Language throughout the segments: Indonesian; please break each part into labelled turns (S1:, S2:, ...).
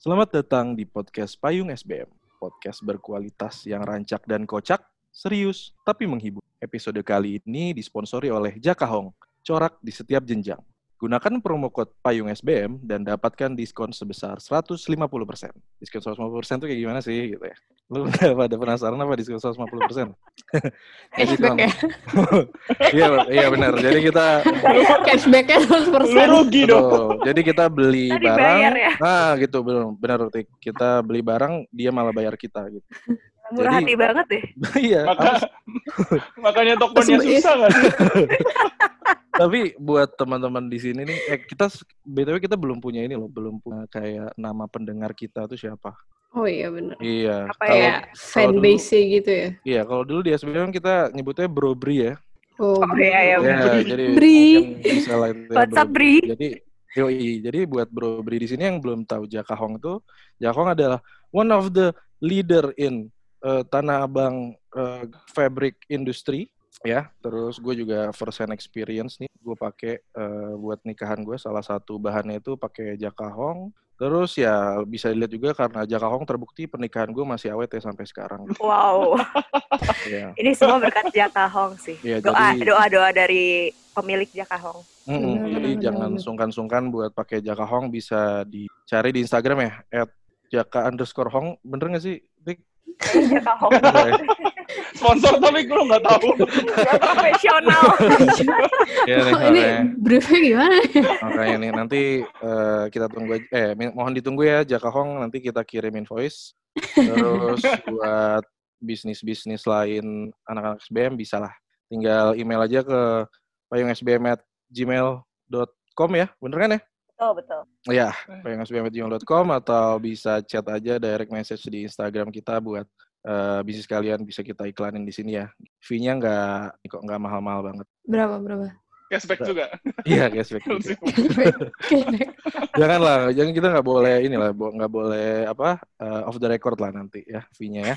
S1: Selamat datang di podcast Payung SBM. Podcast berkualitas yang rancak dan kocak, serius tapi menghibur. Episode kali ini disponsori oleh Jakahong, corak di setiap jenjang. Gunakan promo code Payung SBM dan dapatkan diskon sebesar 150%. Diskon 150% tuh kayak gimana sih gitu ya? Lu udah pada penasaran apa diskon 150%?
S2: Cashback ya?
S1: Iya, iya benar. Jadi kita
S2: Cashbacknya 100%.
S3: Lu rugi Iya dong.
S1: Betul. Jadi kita beli
S4: Kita
S1: barang.
S4: dibayar ya.
S1: Nah, gitu belum benar Tik. Kita beli barang, dia malah bayar kita gitu. Jadi-
S4: Murah hati banget deh.
S1: iya. apa-
S3: Maka, makanya tokonya
S2: Sebenarnya-
S3: susah kan?
S1: Tapi buat teman-teman di sini nih, eh, kita s- btw kita belum punya ini loh, belum punya kayak nama pendengar kita tuh siapa.
S2: Oh iya benar.
S1: Iya.
S4: Apa
S1: kalau-
S4: ya?
S2: Kayak fanbase gitu ya.
S1: Iya, kalau dulu di SBM kita nyebutnya Brobri ya.
S2: Oh,
S4: Oh iya ya.
S1: Iya,
S3: Bri.
S1: jadi
S2: Bri.
S1: mungkin bisa lah itu ya,
S4: WhatsApp,
S1: Bro Bri.
S4: Bri.
S1: Jadi yoi, jadi buat Bro Bri di sini yang belum tahu Jakahong itu, Jakahong adalah one of the leader in eh, Tanah Abang eh, fabric industry ya. Terus gue juga first hand experience nih, gue pakai eh, buat nikahan gue salah satu bahannya itu pakai Jakahong. Terus ya bisa dilihat juga karena Jakahong terbukti pernikahan gue masih awet ya sampai sekarang.
S4: Wow.
S1: Ya.
S4: Ini semua berkat Jaka Hong sih.
S1: Iya,
S4: doa
S1: jadi-
S4: doa doa dari pemilik Jaka Hong.
S1: Mm-mm,
S2: Benar,
S1: Jadi
S2: benar,
S1: jangan
S2: benar.
S1: sungkan-sungkan buat pakai jaka hong bisa dicari di Instagram ya at jaka underscore hong bener nggak sih? Tik?
S4: Jaka Hong
S1: Bener ya?
S3: Sponsor tapi gue nggak tahu.
S4: profesional.
S1: Iya, nih,
S2: Oh, ini
S1: makanya-
S2: briefnya gimana?
S1: makanya nih nanti eh, kita tunggu aja- eh mi- mohon ditunggu ya jaka hong nanti kita kirim invoice terus buat bisnis-bisnis lain anak-anak SBM bisa lah tinggal email aja ke payungsbm@gmail.com ya bener kan ya?
S4: Betul betul.
S1: Ya, pengasbm.com atau bisa chat aja direct message di Instagram kita buat eh, bisnis kalian bisa kita iklanin di sini ya. Fee-nya nggak kok nggak mahal-mahal banget.
S2: Berapa berapa?
S3: Cashback juga.
S1: Iya, cashback. gitu. Iya. Janganlah, jangan kita nggak boleh inilah, bo- nggak boleh apa eh, off the record lah nanti ya fee-nya ya.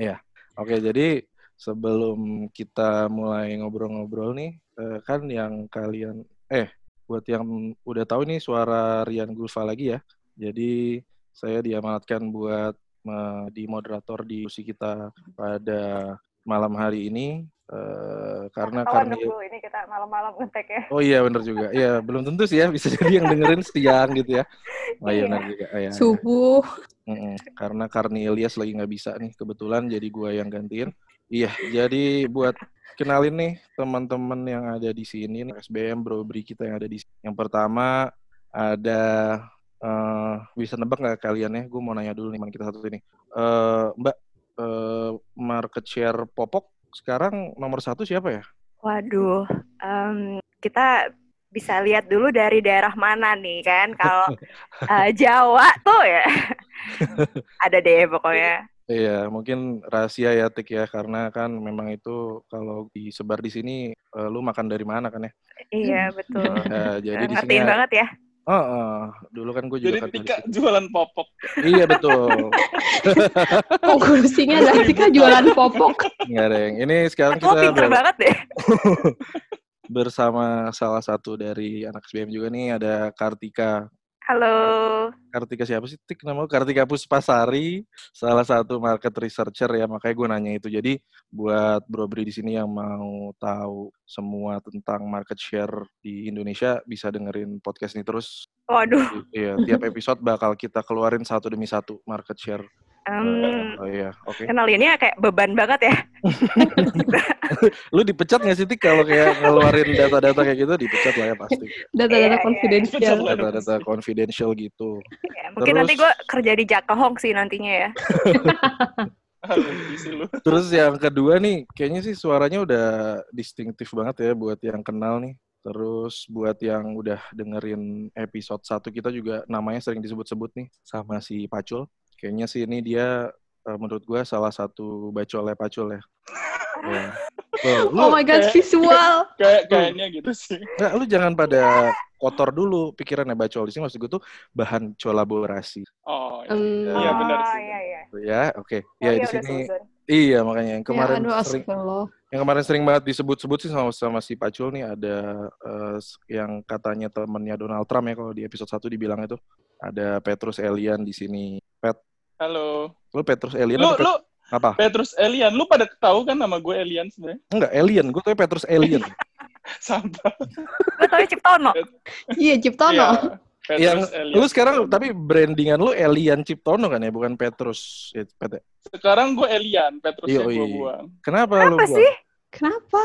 S1: Iya. Oke, jadi sebelum kita mulai ngobrol-ngobrol nih, eh, kan yang kalian eh buat yang udah tahu nih suara Rian Gulfa lagi ya. Jadi saya diamanatkan buat eh, di moderator di diskusi kita pada malam hari ini eh, karena
S4: Kawan
S1: Karmil
S4: dulu ini kita malam-malam ngetek ya.
S1: Oh iya bener juga. Iya belum tentu sih ya bisa jadi yang dengerin siang gitu ya. Oh iya
S4: Iya.
S1: bener juga. Oh, iya, iya.
S2: Subuh.
S1: Mm-mm. Karena Karni Ilyas lagi nggak bisa nih kebetulan jadi gua yang gantiin. Iya jadi buat kenalin nih teman-teman yang ada di sini nih, SBM Brobri kita yang ada di sini. Yang pertama ada eh, bisa nebak nggak kalian ya? Gue mau nanya dulu nih man kita satu ini. Eh, Mbak eh, market share popok sekarang nomor satu siapa ya?
S4: Waduh. em, kita bisa lihat dulu dari daerah mana nih kan kalau eh, Jawa tuh ya ada deh pokoknya
S1: Iya, mungkin rahasia ya Tik ya karena kan memang itu kalau disebar di sini eh, lu makan dari mana kan ya.
S4: iya betul
S1: Eh, jadi di sini
S4: ngertiin banget ya
S1: Oh, oh, dulu kan gue juga
S3: Jadi
S1: kan dari
S3: Tika
S1: sini.
S3: jualan popok.
S1: Iya betul.
S2: Konklusinya adalah Tika jualan popok.
S1: Enggak, Reng. Ini sekarang
S4: aku
S1: kita
S4: pinter
S1: ber-
S4: banget deh
S1: bersama salah satu dari anak SBM juga nih ada Kartika.
S4: halo
S1: Kartika siapa sih? Tik nama lu? Kartika Puspasari, salah satu market researcher ya, makanya gue nanya itu. Jadi buat Bro Bri di sini yang mau tahu semua tentang market share di Indonesia bisa dengerin podcast ini terus.
S4: Waduh,
S1: Iya, tiap episode bakal kita keluarin satu demi satu market share.
S4: em,
S1: Eh, iya, oke.
S4: kenalinnya kayak beban banget ya.
S1: Lu dipecat nggak sih Tik kalau kayak ngeluarin data-data kayak gitu dipecat lah ya pasti.
S4: Iya,
S2: Data-data
S4: iya.
S2: confidential.
S1: Data-data confidential gitu.
S4: Ya, mungkin
S1: Terus-
S4: nanti gue kerja di Jakahong sih nantinya ya.
S3: Isi lu.
S1: Terus yang kedua nih, kayaknya sih suaranya udah distinktif banget ya buat yang kenal nih. Terus buat yang udah dengerin episode 1 kita juga namanya sering disebut-sebut nih sama si Pacul. Kayaknya sih ini dia eh, menurut gua salah satu bacolnya Pacul ya. ya. Tuh, lu,
S2: Oh my god, visual.
S3: Kayak kayaknya gitu sih.
S1: nggak, lu jangan pada kotor dulu pikirannya bacol di sini maksud gua tuh bahan kolaborasi
S3: Oh, iya.
S2: Hmm.
S1: Iya,
S3: benar
S4: Oh,
S3: sih.
S4: Iya, iya.
S1: ya oke ya
S4: Oh, iya,
S1: di
S4: udah
S1: sini
S4: seuzon.
S1: iya makanya yang kemarin
S2: ya, aduh,
S1: sering
S2: astagfirullah.
S1: Yang kemarin sering banget disebut-sebut sih sama, sama si Pacul nih ada eh, s- yang katanya temennya Donald Trump ya kalau di episode 1 dibilang itu. Ada Petrus Elian di sini. Pet,
S3: Halo.
S1: lu Petrus Elian apa,
S3: Lu
S1: Pet-
S3: lu
S1: apa?
S3: Petrus Elian, lu pada tahu kan nama gue Elian sebenarnya?
S1: Enggak, Elian. Gue tuh Petrus Elian.
S3: Sampah.
S4: Gue tau Ciptono.
S2: Iya, Ciptono.
S3: Iya, Petrus
S1: Yang
S3: Elian.
S1: lu sekarang tapi brandingan lu Elian Ciptono kan ya, bukan Petrus. Ya, Pet-
S3: sekarang gue Elian, Petrus
S1: Yoi.
S3: gue buang.
S1: Kenapa, lu?
S4: Kenapa
S1: buang?
S4: sih?
S2: Kenapa?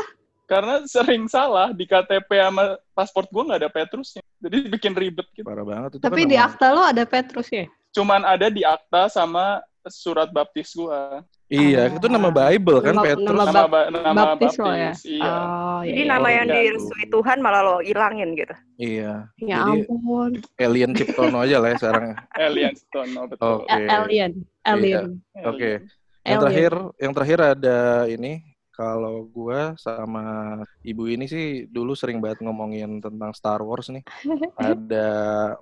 S3: Karena sering salah di KTP sama pasport gue nggak ada Petrusnya. Jadi bikin ribet gitu.
S1: Parah banget itu
S2: Tapi
S1: kan
S2: di
S1: nama-
S2: akta lo ada Petrus ya?
S3: Cuman ada di akta sama surat baptis gue.
S1: Iya,
S2: Ah.
S1: itu nama Bible kan
S2: Nama-
S1: Petrus.
S2: nama-
S3: Nama, ba- nama
S2: baptis
S3: baptis,
S2: lo ya?
S3: iya.
S2: Oh,
S4: Jadi
S2: iya,
S4: nama
S2: iya.
S4: yang direstui Tuhan malah lo ilangin gitu.
S1: Iya,
S2: Ya
S1: jadi-
S2: ampun.
S1: Elian Ciptono aja lah ya sekarang.
S2: Ah.
S3: Elian Stono, betul.
S1: Oke. Iya.
S2: Eh, Alien. Alien.
S3: Elian.
S1: Oh, Oke. Yang
S2: Alien.
S1: terakhir, yang terakhir ada ini. Kalau gua sama ibu ini sih dulu sering banget ngomongin tentang Star Wars nih. Ada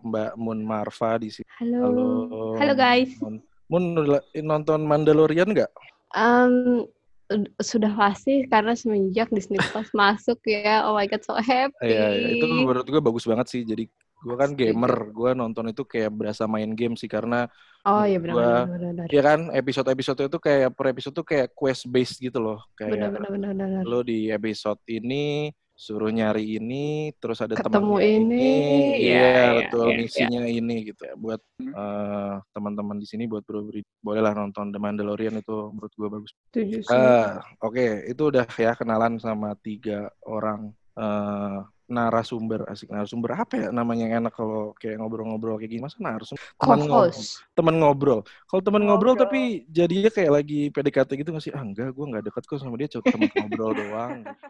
S1: Mbak Mun Marva di sini.
S2: Halo.
S1: Halo.
S2: Halo guys.
S1: Mun, Mun udah nonton Mandalorian nggak?
S2: Em, ud- sudah pasti karena semenjak Disney Plus masuk ya, oh my god so happy.
S1: Iya, iya. itu menurut gua bagus banget sih. Jadi gua kan gamer, gua nonton itu kayak berasa main game sih karena
S2: oh iya
S1: gua-
S2: benar benar benar
S1: ya kan episode-episode itu kayak per episode tuh kayak quest based gitu loh, kayak
S2: benar benar benar benar.
S1: lo di episode ini suruh nyari ini terus ada
S2: Ketemu
S1: temannya
S2: ini,
S1: iya
S2: iya, iya,
S1: betul
S2: iya,
S1: misinya ini gitu ya buat
S3: Hmm.
S1: eh, teman-teman di sini buat berberi bolehlah nonton The Mandalorian itu menurut gue bagus
S2: Setuju
S1: Eh,
S2: sih.
S1: oke itu udah ya kenalan sama tiga orang eh, narasumber asik narasumber apa ya namanya yang enak kalau kayak ngobrol-ngobrol kayak gini masa narasumber teman ngobrol
S2: Co-host.
S1: teman ngobrol kalau teman ngobrol
S4: Ngobrol.
S1: tapi jadinya kayak lagi PDKT gitu nggak sih ah enggak gue nggak deket kok sama dia cuma teman ngobrol doang gitu.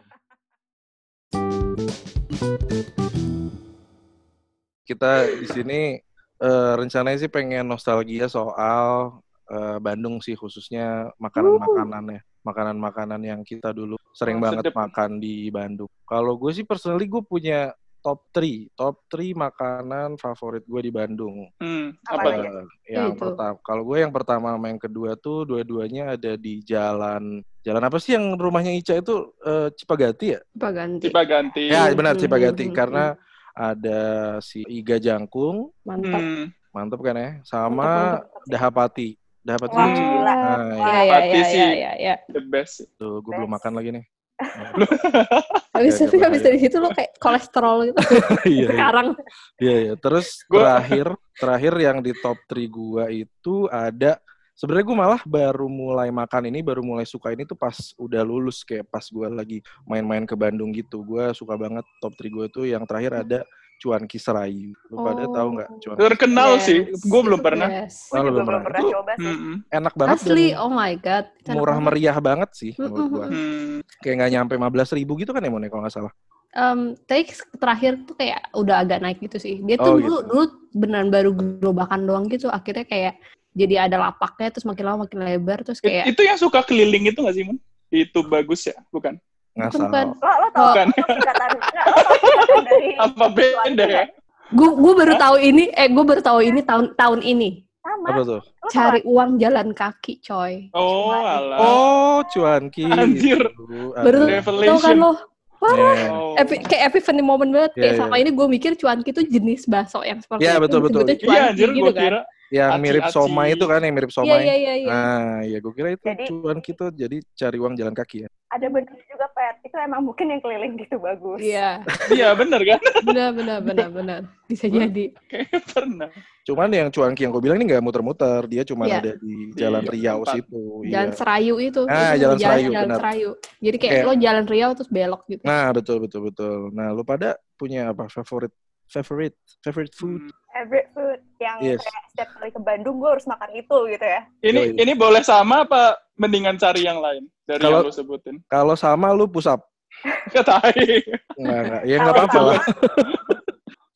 S1: kita di sini eh, rencananya sih pengen nostalgia soal eh, Bandung sih khususnya makanan-makanannya makanan-makanan yang kita dulu sering
S3: Oh,
S1: banget
S3: sedep.
S1: makan di Bandung. Kalau gue sih personally gue punya top 3, top 3 makanan favorit gue di Bandung.
S3: Hmm,
S4: Apa
S3: apa
S4: lagi?
S3: tuh?
S1: Eh, yang
S2: Itu.
S1: pertama, kalau gue yang pertama sama yang kedua tuh dua-duanya ada di jalan jalan apa sih yang rumahnya Ica itu eh, Cipagati ya?
S2: Apa ganti?
S3: Tiba ganti.
S1: Ya
S2: Iya.
S1: benar
S2: Hmm,
S1: Cipagati
S2: hmm,
S1: karena ada si Iga Jangkung,
S2: Mantap.
S3: Hmm.
S1: mantep kan ya, sama
S2: Mantap,
S1: Iya. Dahapati. Dahapati
S4: Wah,
S1: itu juga.
S4: gila.
S3: ah,
S1: Nah,
S3: iya,
S2: Ya ya
S3: Pati
S2: ya
S3: sih.
S2: ya ya. ya.
S3: The best.
S1: itu gue belum
S4: Best.
S1: makan lagi nih.
S2: Habis
S1: Iya,
S2: tapi
S1: iya,
S2: habis
S1: bahaya.
S2: dari situ lo kayak kolesterol gitu
S1: Iya, iya.
S2: sekarang.
S1: Iya, iya. Terus
S3: Gua-
S1: terakhir, terakhir yang di top 3 gua itu ada sebenarnya gua malah baru mulai makan ini, baru mulai suka ini tuh pas udah lulus kayak pas gua lagi main-main ke Bandung gitu. Gua suka banget top 3 gua tuh yang terakhir ada Cuan Kisrayu. Lu pada
S2: Oh.
S1: tahu nggak Cuan
S3: Terkenal
S2: Yes.
S3: sih. Gue belum pernah.
S2: Yes.
S1: Wah, lu
S4: Gue juga
S1: belum
S4: belum
S1: pernah.
S4: pernah
S1: Itu
S4: coba sih.
S3: Hmm.
S1: Enak banget
S2: Asli,
S1: dan
S2: oh my god.
S1: murah meriah banget sih menurut
S2: Mm-mm.
S1: gua.
S3: Hmm.
S1: Kayak nggak nyampe 15 ribu gitu kan ya Mon, ya, kalau nggak salah.
S2: Em, tapi terakhir tuh kayak udah agak naik gitu sih. Dia
S1: Oh,
S2: tuh dulu
S1: gitu.
S2: dulu beneran baru gerobakan doang gitu. Akhirnya kayak jadi ada lapaknya terus makin lama makin lebar terus
S3: It-
S2: kayak
S3: Itu yang suka keliling itu gak sih, Mun? Itu bagus ya? Bukan?
S1: Nggak
S2: Bukan, bukan.
S1: salah.
S4: Lo, lo tau
S3: Bukan.
S4: lo tau singkatan enggak, lo tau singkatan dari
S2: Iya,
S3: Apa beda ya?
S2: gue baru tahu ini eh gue baru tahu ini tahun tahun ini
S4: sama.
S1: Apa tuh?
S4: Lo tau
S2: cari uang jalan kaki coy
S3: Oh, alah.
S1: Oh, Cuan Kisrayu.
S3: Anjir.
S2: baru
S1: Aduh.
S2: tahu kan
S3: Revelation.
S2: lo Wah,
S1: Iya.
S3: Oh.
S2: epi, kayak epiphany moment banget
S1: Iya,
S2: kayak
S1: iya.
S2: sama ini gue mikir cuanki tuh jenis bakso yang seperti
S1: Iya,
S2: itu
S1: betul, betul.
S2: disebutnya
S3: Iya,
S2: cuanki
S3: anjir
S2: gitu
S3: gue
S2: kan
S3: kira.
S1: yang
S3: Aci,
S1: mirip
S3: aci.
S1: somai itu kan yang mirip
S2: iya
S1: somai
S2: iya iya iya
S1: nah ya gue kira itu
S4: Jadi-
S1: cuan kita jadi cari uang jalan kaki ya
S4: Ada bener juga pet. Itu emang mungkin yang keliling gitu bagus.
S2: iya
S3: Iya, bener kan?
S2: benar benar benar benar bisa jadi
S3: Kayaknya pernah.
S1: cuman yang cuan yang gue bilang ini nggak muter-muter dia cuma
S2: Iya.
S1: ada di jalan
S3: Di
S1: Riau
S3: tempat.
S1: situ
S2: Jalan
S1: iya.
S2: Serayu itu.
S1: Ah,
S2: Itu
S1: Jalan
S2: jalan,
S1: Serayu,
S2: Jalan
S1: benar.
S2: Serayu. Jadi kayak
S1: Kayak-
S2: lo jalan Riau terus belok gitu.
S1: nah betul betul betul nah lu pada punya apa favorit favorite favorite
S2: Hmm.
S1: food
S4: Every food yang
S1: Yes.
S4: kayak setiap kali ke Bandung gue harus makan itu gitu ya.
S3: Ini
S1: Yoi.
S3: ini boleh sama apa mendingan cari yang lain dari
S1: Kalau-
S3: yang lu sebutin?
S1: kalau sama lu pusap
S3: Katai.
S2: Iya.
S1: nggak nggak ya nggak apa-apa lah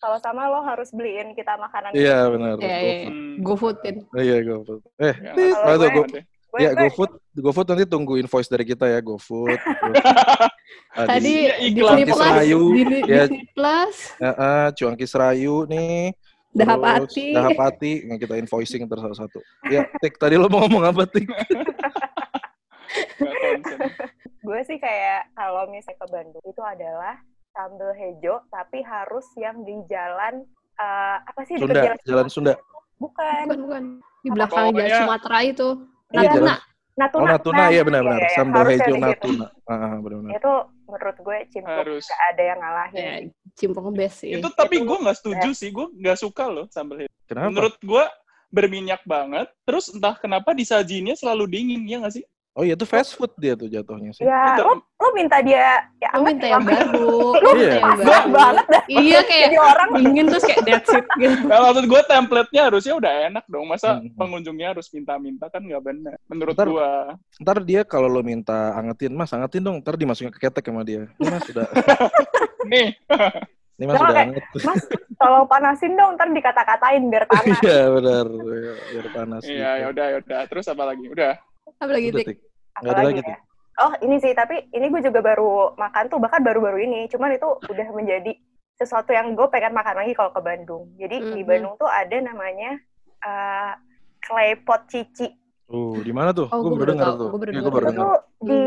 S4: Kalau sama lo harus beliin kita makanan. gitu.
S1: iya benar
S2: Iya, iya,
S1: GoFood.
S3: Hmm.
S2: Go foodin.
S1: iya GoFood eh
S3: Ya,
S1: Aduh,
S4: Kalau gue,
S1: gua-
S3: ada.
S4: gue,
S1: ya
S4: gue
S1: GoFood GoFood nanti tunggu invoice dari kita ya GoFood Terus
S2: Tadi
S1: ada-
S3: Iya,
S2: di
S3: iklan
S2: Disney Plus,
S1: Serayu,
S2: di
S1: ya.
S2: Disney Plus,
S1: Eh, eh, cuan Kisrayu nih
S2: Dahapati.
S1: Dahapati, yang kita invoicing terus satu-satu. Ya, Tik, tadi lo mau ngomong apa, Tik?
S3: Nggak konsen.
S4: gue sih kayak kalau misalnya ke Bandung itu adalah sambal hejo tapi harus yang di jalan eh, apa sih
S1: Sunda,
S4: dekat
S1: Jalan Sunda.
S4: Bukan.
S2: Bukan, bukan. Di belakang
S3: Pokoknya-
S2: Jalan Sumatera itu.
S1: Iya,
S2: Natuna.
S1: jalan-
S4: Natuna.
S1: Oh, Natuna, iya benar-benar.
S4: iya, iya.
S1: Sambal
S4: Harusnya
S1: hijau
S4: di Iya. situ.
S1: Natuna. Ah, ah, benar-benar.
S4: Itu menurut gue cimpluk
S3: Harus.
S4: nggak ada yang ngalahin.
S2: Ya, Cimpong best sih.
S3: Itu tapi
S4: Itu- ya.
S3: gue nggak setuju sih, gue nggak suka loh sambal hijau.
S1: Kenapa?
S3: Menurut gue berminyak banget, terus entah kenapa disajinya selalu dingin, ya nggak sih?
S1: Oh iya, itu fast food dia tuh jatuhnya sih.
S4: Ya,
S3: Itu-
S4: lo, lo minta dia ya
S2: Lu
S4: amat
S2: minta yang
S4: ya,
S2: baru. Lu minta
S1: Iya.
S2: yang
S4: Enggak
S2: baru.
S4: banget dah.
S2: Iya kayak
S4: Jadi orang
S2: dingin terus kayak that's it gitu.
S3: Nah, maksud gue template-nya harusnya udah enak dong. Masa
S1: Hmm.
S3: pengunjungnya harus minta-minta kan nggak benar. Menurut
S1: Bentar.
S3: gue.
S1: Ntar dia kalau lo minta angetin, mas angetin dong. Ntar dimasukin ke ketek sama dia. Ini mas sudah,
S3: Nih,
S1: ini mas
S4: Jangan
S1: sudah
S4: kayak-
S1: anget.
S4: Mas, tolong panasin dong, ntar dikata-katain biar panas.
S1: Iya benar. Iya, Biar panas.
S3: iya
S1: gitu.
S3: yaudah, yaudah. Terus apa lagi? Udah.
S2: Apalagi
S1: Udah,
S2: Tik.
S1: Tik. Nggak ada
S4: Apalagi
S1: lagi,
S4: ya? Oh ini sih, tapi ini gue juga baru makan tuh, bahkan baru-baru ini. Cuman itu udah menjadi sesuatu yang gue pengen makan lagi kalau ke Bandung. Jadi di
S2: Mhm.
S4: Bandung tuh ada namanya eh, claypot cici.
S1: Uh, di mana tuh?
S2: Oh,
S1: gue
S2: gua
S1: baru
S2: baru
S1: dengar
S2: tahu.
S1: tuh.
S2: Gua baru
S1: Iya,
S2: dengar.
S1: gua baru
S4: Itu
S1: dengar.
S4: tuh di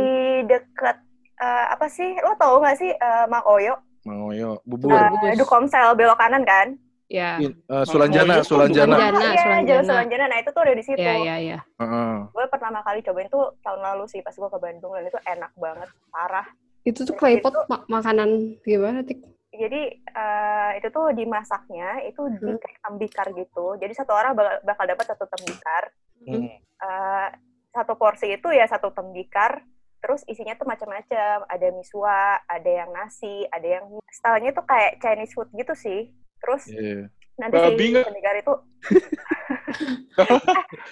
S4: deket, eh, apa sih, lo tau gak sih eh, Makoyo?
S1: Mangoyo, bubur.
S2: Bagus.
S4: Eh, Dukomsel, belok kanan kan?
S2: Ya.
S1: Ih, eh, Sulanjana,
S3: Mangoyo.
S1: Sulanjana.
S2: Sulanjana.
S4: Iya, jauh
S2: Sulanjana.
S4: Sulanjana. Nah itu tuh ada di situ.
S2: Ya, ya, ya.
S1: Heeh.
S4: Gue pertama kali cobain tuh tahun lalu sih, pas gue ke Bandung. Dan itu enak banget, parah.
S2: Itu tuh
S4: Terus
S2: claypot
S4: itu-
S2: ma- makanan gimana, Tik?
S4: jadi eh, itu tuh dimasaknya itu di
S2: Hmm.
S4: kayak tembikar gitu jadi satu orang bakal, bakal dapat satu tembikar
S1: Hmm.
S4: Eh, satu porsi itu ya satu tembikar terus isinya tuh macam-macam ada misua ada yang nasi ada yang stylenya tuh kayak Chinese food gitu sih terus
S1: Iya.
S4: nanti
S3: Ya. Babi
S4: si
S3: nggak?
S4: tembikar itu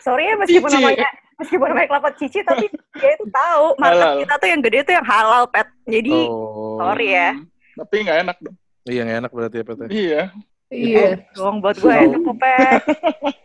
S4: sorry ya meskipun
S3: Cici.
S4: namanya meskipun namanya kelapa cici tapi dia itu tahu
S3: Halal.
S4: market kita tuh yang gede tuh yang halal pet jadi
S1: Oh,
S4: sorry. ya.
S3: Hmm. Tapi nggak enak dong.
S1: iya nggak enak berarti ya PT.
S3: Iya.
S2: Iya.
S4: dong buat gue
S1: Tahu.
S3: Oh.
S4: itu pet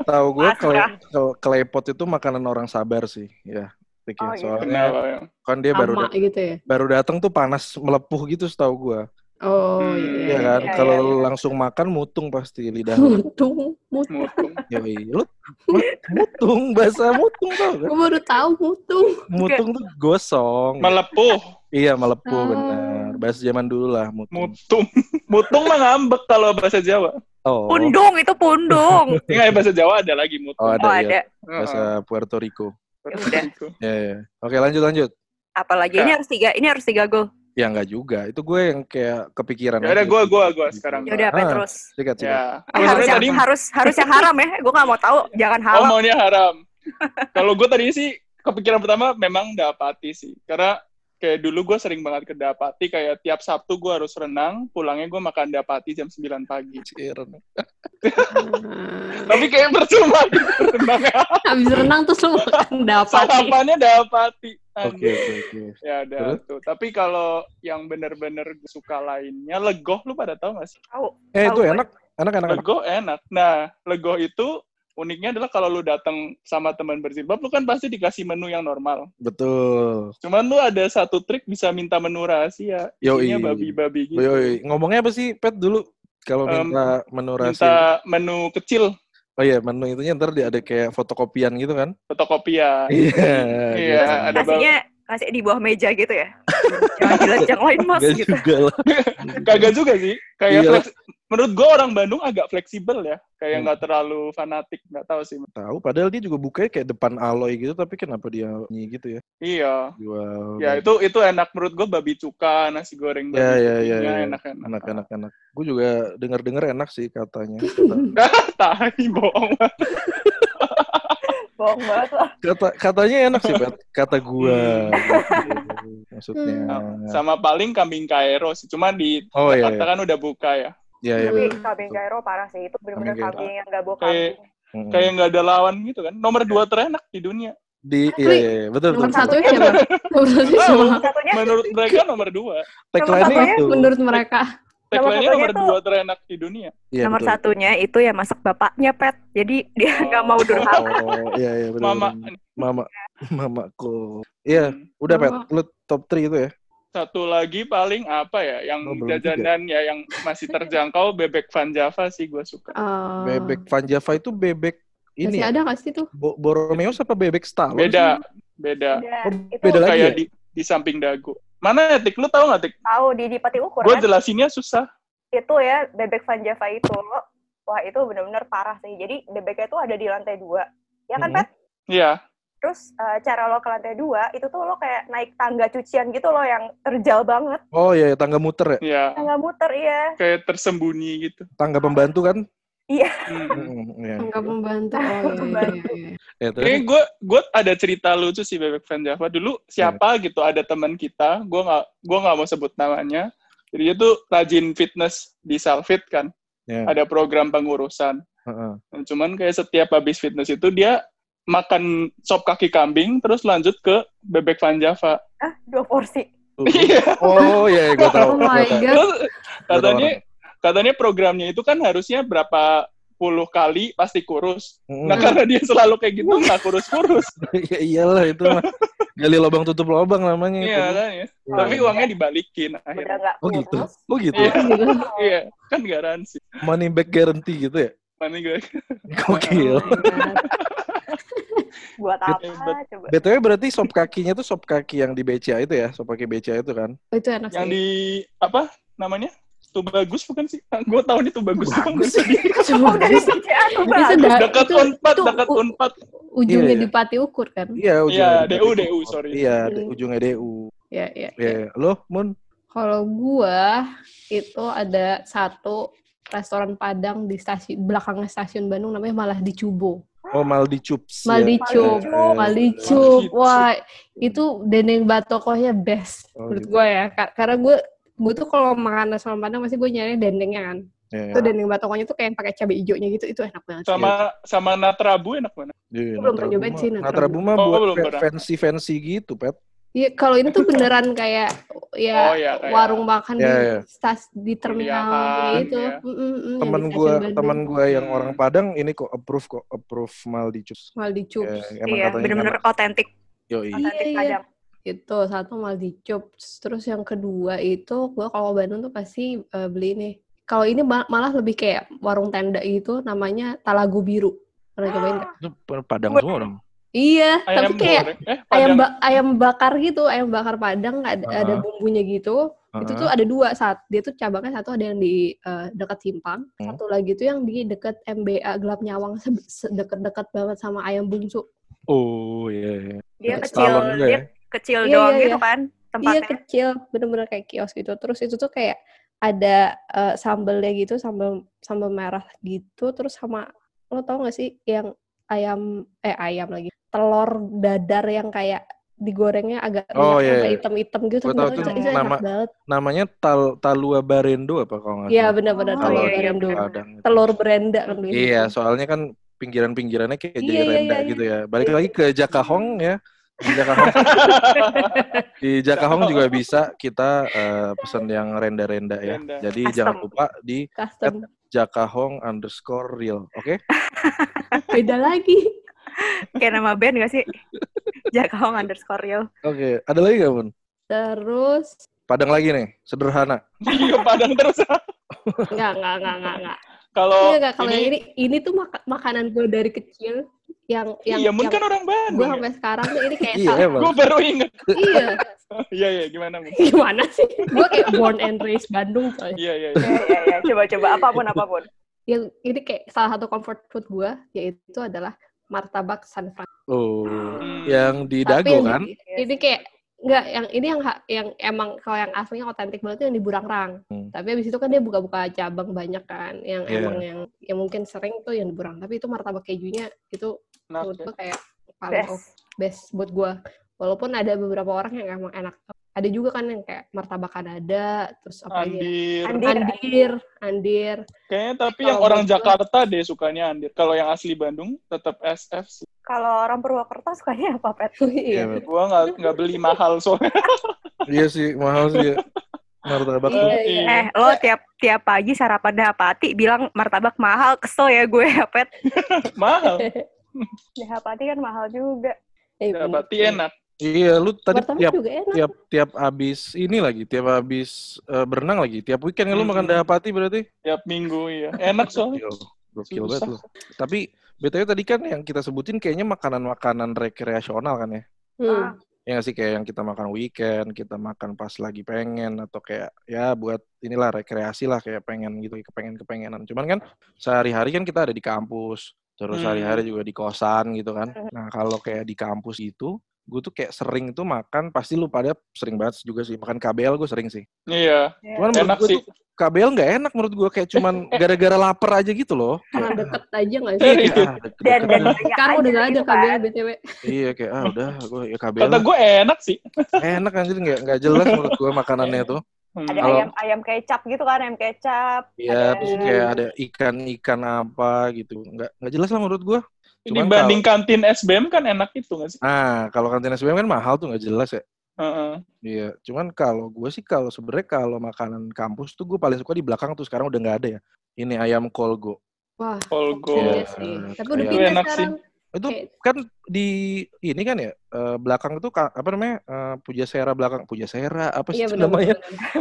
S1: Tahu gue
S4: Mas,
S1: kele,
S4: ya.
S1: kele- kelepot itu makanan orang sabar sih, ya. Tik, ya.
S4: Oh, iya.
S1: Soalnya
S3: Kenapa ya?
S1: kan dia baru
S2: Ama
S1: dat-
S2: gitu ya.
S1: baru datang tuh panas melepuh gitu setahu gue.
S2: Oh,
S3: Hmm,
S1: Iya
S2: iya.
S1: kan?
S4: iya,
S1: Kalau
S4: iya.
S1: langsung makan mutung pasti lidah. lu.
S2: Mutung, mutung.
S3: Mutung.
S1: Yoi. Lu mu- mutung bahasa mutung tau kan?
S2: Gue baru tahu mutung.
S1: Mutung tuh gosong.
S3: Melepuh.
S1: Iya melepuh
S4: Oh.
S2: Ah.
S1: benar. Bahasa zaman dulu lah mutung.
S3: Mutung. Mutung mah ngambek kalau bahasa Jawa.
S1: Oh.
S4: Pundung itu pundung.
S3: Enggak, bahasa Jawa ada lagi
S1: Iya.
S3: mutung.
S1: Oh ada
S4: oh
S1: ya.
S4: ada.
S1: Bahasa Puerto Rico.
S3: Heeh.
S4: Udah.
S1: Ya, ya. Oke lanjut lanjut.
S4: Apalagi ini harus tiga, ini harus tiga gol.
S1: Ya nggak juga. Itu gue yang kayak kepikiran.
S3: Ya udah,
S1: aja.
S3: gua- gua- gua sekarang.
S4: Ya udah
S1: Ah,
S4: Petrus.
S1: Sikat sikat.
S3: Ya.
S4: Eh, harus,
S3: Sebenarnya
S4: yang,
S3: tadi
S4: harus harus yang haram ya. Gue nggak mau tahu. Jangan
S3: Oh,
S4: halal.
S3: maunya haram. Kalau gue tadi sih kepikiran pertama memang Dapati sih. Karena kayak dulu gue sering banget ke Dapati kayak tiap Sabtu gue harus renang, pulangnya gue makan Dapati jam 9 pagi.
S1: Ciren.
S3: Tapi kayak percuma gitu renangnya.
S2: Nah, Habis renang terus lu makan dapat.
S3: Sarapannya Dapati.
S1: Oke
S3: Anjir.
S1: oke oke.
S3: Ya udah tuh. Tapi kalau yang bener-bener gua suka lainnya, legoh lu pada tahu gak sih?
S1: Eh itu
S4: Tahu,
S1: enak enak enak enak.
S3: Legoh enak. Nah, legoh itu uniknya adalah kalau lu datang sama teman berjilbab, lu kan pasti dikasih menu yang normal.
S1: Betul.
S3: Cuman lu ada satu trik bisa minta menu rahasia.
S1: Yoi.
S3: Isinya babi-babi gitu.
S1: Yoi. Iya, Ngomongnya apa sih Pet dulu? Kalau
S3: Em,
S1: minta menu rahasia.
S3: Minta menu kecil,
S1: Oh iya menu itunya ntar dia ada kayak fotokopian gitu kan?
S3: fotokopian.
S1: Iya.
S3: Iya,
S1: biasa.
S3: ada bang-
S4: Kasihnya kasih di bawah meja gitu ya. Jangan dilihat yang lain mas
S1: Nggak
S4: gitu.
S1: juga lah.
S3: Kagak juga sih. Kayak
S1: Iya.
S3: fleks- menurut gua orang Bandung agak fleksibel ya. Kayak
S1: Hmm.
S3: nggak terlalu fanatik, nggak tahu sih.
S1: Tahu. Padahal dia juga bukanya kayak depan alloy gitu, tapi kenapa dia nyi gitu ya?
S3: Iya.
S1: Jual.
S3: Ya itu itu enak menurut gua babi cuka, nasi goreng babi
S1: Ya, ya, ya,
S3: cukanya
S1: ya.
S3: enak-enak.
S1: enak enak enak. Gue juga dengar dengar enak sih katanya. Kata,
S3: Tahi bohong.
S1: Iya,
S4: Bohong banget lah.
S1: kata- katanya enak sih Pet. Kata gua. gitu.
S3: Hmm.
S1: Maksudnya.
S3: Sama paling kambing kairo sih. Cuma di
S1: Oh iya
S3: Jakarta
S1: iya.
S3: kan udah buka ya.
S1: Iya iya.
S4: Tapi
S1: betul.
S4: kambing gairo parah sih. Itu benar-benar
S1: Kambing
S4: kambing yang nggak bawa
S3: Kayak-
S4: kambing.
S1: Mm-mm.
S3: Kayak nggak ada lawan gitu kan.
S1: Iya.
S3: Nomor dua terenak di dunia.
S1: di iya
S2: Asli.
S1: iya, betul betul.
S2: Nomor satu siapa? Nomor satu
S1: Oh,
S2: siapa?
S4: Nomor satunya,
S3: Menurut mereka nomor dua.
S1: Tagline-nya
S4: satunya
S1: itu.
S2: Menurut mereka.
S3: Tagline-nya
S4: satunya
S3: nomor
S4: tuh-
S3: dua terenak di dunia.
S1: Iya,
S4: nomor
S1: betul.
S4: satunya itu ya masak bapaknya pet. Jadi dia
S3: Oh.
S4: nggak mau durhaka.
S1: Oh, iya iya benar.
S3: Mama.
S1: benar. Mama mamaku. Iya, udah Pet, lu top 3 itu ya.
S3: Satu lagi paling apa ya? Yang
S1: Oh, belum
S3: jajanan ya yang masih terjangkau bebek Van Java sih gue suka.
S2: Eh,
S1: Bebek Van Java itu bebek ini
S2: Masih
S1: ya?
S2: ada nggak sih tuh?
S1: Bo- Borromeus apa bebek Stallone?
S3: Beda, beda.
S4: Udah,
S1: Oh,
S4: Iya, itu
S1: beda lagi. ya?
S3: Kayak di di samping dagu. Mana ya, Tik? Lu tahu nggak, Tik?
S4: tahu di di pati ukur
S3: Gue
S4: kan?
S3: jelasinnya susah.
S4: Itu ya bebek van Java itu lo Wah itu benar-benar parah sih. Jadi DBK itu ada di lantai dua. Ya kan,
S1: Mhm.
S2: Mm-hmm.
S4: Pat?
S3: Iya.
S4: Terus eh, cara lo ke lantai dua itu tuh lo kayak naik tangga cucian gitu lo yang terjal banget.
S1: Oh iya, tangga muter ya,
S3: Iya.
S4: Tangga muter iya.
S3: Kayak tersembunyi gitu.
S1: tangga pembantu kan?
S3: Hmm.
S1: Mm, Iya.
S2: Anggap membantu. Oh, iya, iya, iya.
S1: Ya, terus?
S3: Ini gue gue ada cerita lucu sih bebek fan Java dulu siapa gitu ada teman kita gue nggak gue nggak mau sebut namanya jadi dia tuh rajin fitness di Salfit kan
S1: Ya.
S3: ada program pengurusan
S1: Heeh.
S3: Nah, cuman kayak setiap habis fitness itu dia makan sop kaki kambing terus lanjut ke bebek fan Java
S4: Ah, dua porsi.
S3: Iya.
S1: Oh iya, gue tahu.
S2: Oh my
S1: gua tahu.
S2: god.
S3: Terus katanya katanya programnya itu kan harusnya berapa puluh kali pasti kurus
S1: Mm,
S3: nah karena dia selalu kayak gitu nggak kurus kurus
S1: ya iyalah itu mah gali lobang tutup lobang namanya. itu.
S3: iya kan ya.
S1: Iya.
S3: tapi uangnya dibalikin
S4: Udah
S3: akhirnya
S4: nggak
S1: Oh gitu.
S4: kurus.
S1: Oh gitu.
S3: Iya.
S2: Oh, gitu.
S3: Iya, kan garansi.
S1: Money back guarantee gitu ya.
S3: Mana gue
S1: Gokil.
S2: Oh my God.
S4: Buat
S1: Iya,
S4: apa?
S3: Hebat.
S4: Coba.
S1: BTW berarti sop kakinya tuh sop kaki yang di BCA itu ya, sop kaki BCA itu kan.
S2: Oh, itu enak
S3: yang
S2: sih.
S3: di apa namanya? Tuh bagus bukan sih? Gue tahu nih tuh bagus.
S1: Bagus
S4: Oh,
S2: Coba
S4: dari cucian tuh
S2: Itu
S4: Bang.
S2: dah-
S3: Dekat
S2: itu-
S3: unpad,
S2: itu
S3: dekat
S2: u-
S3: unpad.
S2: Ujungnya
S1: Iya, iya.
S2: dipati ukur kan?
S1: Iya,
S3: Iya,
S1: dari
S3: DU,
S1: BCA.
S3: DU, sorry.
S1: Iya,
S2: Hmm.
S1: di ujungnya DU.
S2: Iya, iya.
S1: Iya,
S2: iya.
S1: iya. Lo, Mun?
S2: Kalau gua itu ada satu restoran Padang di stasiun belakangnya stasiun Bandung namanya malah di Cubo.
S1: Oh, Maldi Chups. ya.
S2: Maldicup,
S1: Iya.
S2: Malicup.
S3: Malicup.
S2: Wah, itu deneng batokohnya best
S1: Oh,
S2: menurut
S1: gitu.
S2: gua ya. Ka- Karena gua gua tuh kalau makan restoran Padang pasti gua nyari dendengnya kan.
S1: Iya,
S2: Itu dendeng batokohnya tuh kayak yang pakai cabai hijaunya gitu, itu enak banget.
S3: Sama sama Natrabu enak mana?
S1: Iya,
S2: Belum pernah
S1: Natrabu
S2: nyobain
S1: mah-
S2: sih, Natrabu.
S1: Natrabu mah
S3: Oh,
S1: buat
S3: belum
S1: fe-
S3: pernah.
S1: fancy-fancy gitu, Pet.
S2: Iya, kalau ini tuh beneran kayak ya
S3: Oh, iya, kayak
S2: warung makan
S1: Iya,
S2: di
S1: iya.
S2: stas di terminal
S3: Kuliahan,
S2: gitu.
S3: iya.
S2: Mm-mm, mm, yang
S1: Temen
S2: di
S1: gua,
S2: stasiun Bandung.
S1: temen gua
S2: Iya,
S1: yang
S3: Hmm.
S1: orang Padang ini kok approve kok, approve Maldi Chups.
S2: Maldicup.
S1: Ya, emang
S4: Iya,
S1: katanya
S4: bener-bener
S1: enak.
S4: otentik.
S1: Yoi.
S2: Iya,
S4: Otentik
S2: iya.
S4: Padang.
S2: Itu satu Maldicup. Terus yang kedua itu gua kalau ke Bandung tuh pasti eh, beli ini. Kalau ini ma- malah lebih kayak warung tenda gitu namanya Talago Biru. Pernah cobain
S4: Oh,
S2: nggak?
S1: Itu Padang
S4: Gua-
S1: semua dong.
S2: Iya, tapi
S3: Ayam
S2: kayak
S3: goreng. Eh,
S2: ayam
S3: padang.
S2: ba- ayam bakar gitu, ayam bakar Padang ada, ada
S1: Ah.
S2: bumbunya gitu. itu tuh ada dua saat dia tuh cabangnya satu ada yang di eh, dekat simpang
S1: Hmm.
S2: satu lagi tuh yang di dekat MBA gelap nyawang se- se- deket-deket banget sama ayam bungsu
S1: Oh, iya, iya.
S4: Dia
S1: Kayak
S4: kecil,
S1: Stallone juga
S4: dia
S1: ya.
S4: kecil
S2: Iya,
S4: doang
S2: iya,
S4: gitu kan
S2: iya
S4: tempatnya.
S2: kecil bener-bener kayak kios gitu terus itu tuh kayak ada eh, sambelnya gitu sambel sambel merah gitu terus sama lo tau gak sih yang ayam eh ayam lagi telur dadar yang kayak digorengnya agak
S1: Oh,
S2: minyak
S1: iya,
S2: sampai
S1: iya.
S2: hitam-hitam gitu
S1: Gua tahu
S2: bener-bener
S4: tuh
S2: itu enak
S1: nama-
S2: banget
S1: Namanya Tal Talua Barendo apa kalau nggak
S2: iya
S1: salah?
S2: bener-bener
S4: Oh,
S1: Kalau
S2: telur
S4: iya, iya,
S2: berendam.
S4: bener.
S1: Padang. itu.
S2: telur berenda kan dulu
S1: Iya,
S2: itu.
S1: soalnya kan pinggiran-pinggirannya kayak jadi
S2: Iya, iya,
S1: renda
S2: iya,
S1: gitu ya. Balik lagi ke Jakahong ya. Di Jakahong, di Jakahong juga bisa kita eh, pesan yang renda-renda ya.
S3: Renda.
S1: Jadi
S4: Custom.
S1: jangan lupa di
S2: custom
S1: Jakahong underscore real, oke?
S2: beda lagi
S4: Kayak nama band gak sih? Jakong underscore real.
S1: Oke, ada lagi nggak, Bun?
S2: terus
S1: Padang lagi nih, sederhana.
S3: Iya, padang terus.
S2: nggak nggak nggak nggak nggak
S3: Kalau
S2: Nggak, Iya, nggak kalau yang
S3: Oh, ini
S2: ini ini tuh maka- makanan gue dari kecil yang yang,
S3: Iya, Mun
S2: yang
S3: kan orang
S2: gue
S3: Bandung.
S2: sampai sekarang tuh ini kayak
S1: Iya,
S2: salah-
S1: Bang.
S3: Gue baru inget.
S2: iya
S3: Iya, iya, gimana? Mun?
S2: gimana sih gue kayak born and raised Bandung coy
S3: Iya, iya. iya.
S4: Iya, iya, iya. Coba-coba apapun apapun.
S2: yang ini kayak salah satu comfort food gue yaitu adalah martabak San Francisco
S1: Oh,
S3: Hmm.
S1: yang di
S2: tapi
S1: Dago
S2: ini-
S1: kan?
S2: ini kayak nggak yang ini yang ha- yang emang kalau yang aslinya otentik banget tuh yang di Burangrang
S1: Hmm.
S2: tapi abis itu kan dia buka-buka cabang banyak kan yang
S1: Iya.
S2: emang yang yang mungkin sering tuh yang di Burang tapi itu martabak kejunya itu
S3: Nah,
S2: menurut gue kayak paling best.
S4: Best.
S2: best buat gue walaupun ada beberapa orang yang emang enak ada juga kan yang kayak martabak Kanada terus apa lagi ya?
S3: Andir.
S4: Andir.
S2: Andir Andir
S3: Kayaknya tapi
S2: Kalau
S3: yang orang
S2: buat gua-
S3: Jakarta deh sukanya Andir. Kalau yang asli Bandung tetap SF sih.
S4: Kalau orang Purwokerto sukanya apa, Pet?
S1: Iya,
S2: iya
S1: Bang.
S3: Gua nggak nggak beli mahal soalnya.
S1: Iya sih, mahal sih. Martabak.
S2: Iya,
S1: tuh.
S2: iya.
S4: Eh, lo tiap tiap pagi sarapan dapati bilang martabak mahal, kesel ya gue, Pet.
S3: mahal.
S4: Iya, Dapati kan mahal juga.
S2: Eh,
S3: Ya, berarti enak.
S1: Iya, lu tadi
S2: martabak
S1: tiap
S2: juga enak
S1: tiap tiap abis ini lagi, tiap abis eh, berenang lagi, tiap weekend kan lu
S3: Mm-mm.
S1: makan dapati berarti?
S3: Tiap minggu ya. Enak
S4: Iya.
S3: soalnya.
S1: Gokil, gokil
S3: Susah.
S1: banget lu. Tapi BTW tadi kan yang kita sebutin kayaknya makanan-makanan rekreasional kan ya.
S2: Hmm.
S4: Ah,
S1: ya nggak sih kayak yang kita makan weekend kita makan pas lagi pengen atau kayak ya buat inilah rekreasi lah kayak pengen gitu kepengen kepengenan cuman kan sehari-hari kan kita ada di kampus terus
S3: Hmm.
S1: sehari-hari juga di kosan gitu kan nah kalau kayak di kampus itu gue tuh kayak sering tuh makan pasti lu pada sering banget juga sih makan KBL gue sering sih
S3: Iya,
S4: Ya,
S1: cuman menurut
S3: enak
S1: gue
S3: sih.
S1: tuh KBL nggak enak menurut gue kayak cuman gara-gara lapar aja gitu loh
S2: Karena deket aja nggak sih? Kan
S3: Iya.
S1: Ah, deket-deket
S4: Dan dan
S1: aja.
S4: banyak
S2: Sekarang udah
S4: aja
S2: nggak ada
S4: gitu
S2: KBL
S4: kan.
S2: BTW.
S1: iya kayak ah udah gue ya KBL
S3: Kata
S1: lah.
S3: gue enak sih.
S1: Eh, enak anjir nggak nggak jelas menurut gue makanannya tuh
S3: Hmm.
S4: Ada
S1: Kalau-
S4: ayam ayam kecap gitu kan, ayam kecap.
S1: Iya,
S4: Ada-
S1: terus kayak ada ikan-ikan apa gitu. Nggak, nggak jelas lah menurut gua. cuman
S3: Dibanding kantin SBM kan enak itu nggak sih?
S1: Nah, kalau kantin SBM kan mahal tuh nggak jelas ya.
S3: Heeh.
S1: Iya, cuman kalau gue sih kalau sebenarnya kalau makanan kampus tuh gue paling suka di belakang tuh sekarang udah nggak ada ya. Ini ayam kolgo.
S2: Wah,
S3: Kolgo.
S2: iya sih. Tapi udah
S1: Iya.
S2: pindah
S3: Enak sih.
S2: sekarang.
S1: Itu
S2: Kayak-
S1: kan di ini kan ya eh, belakang itu ka- apa namanya eh, Pujasera belakang Pujasera apa sih
S2: Iya
S1: itu
S2: benar.
S1: namanya?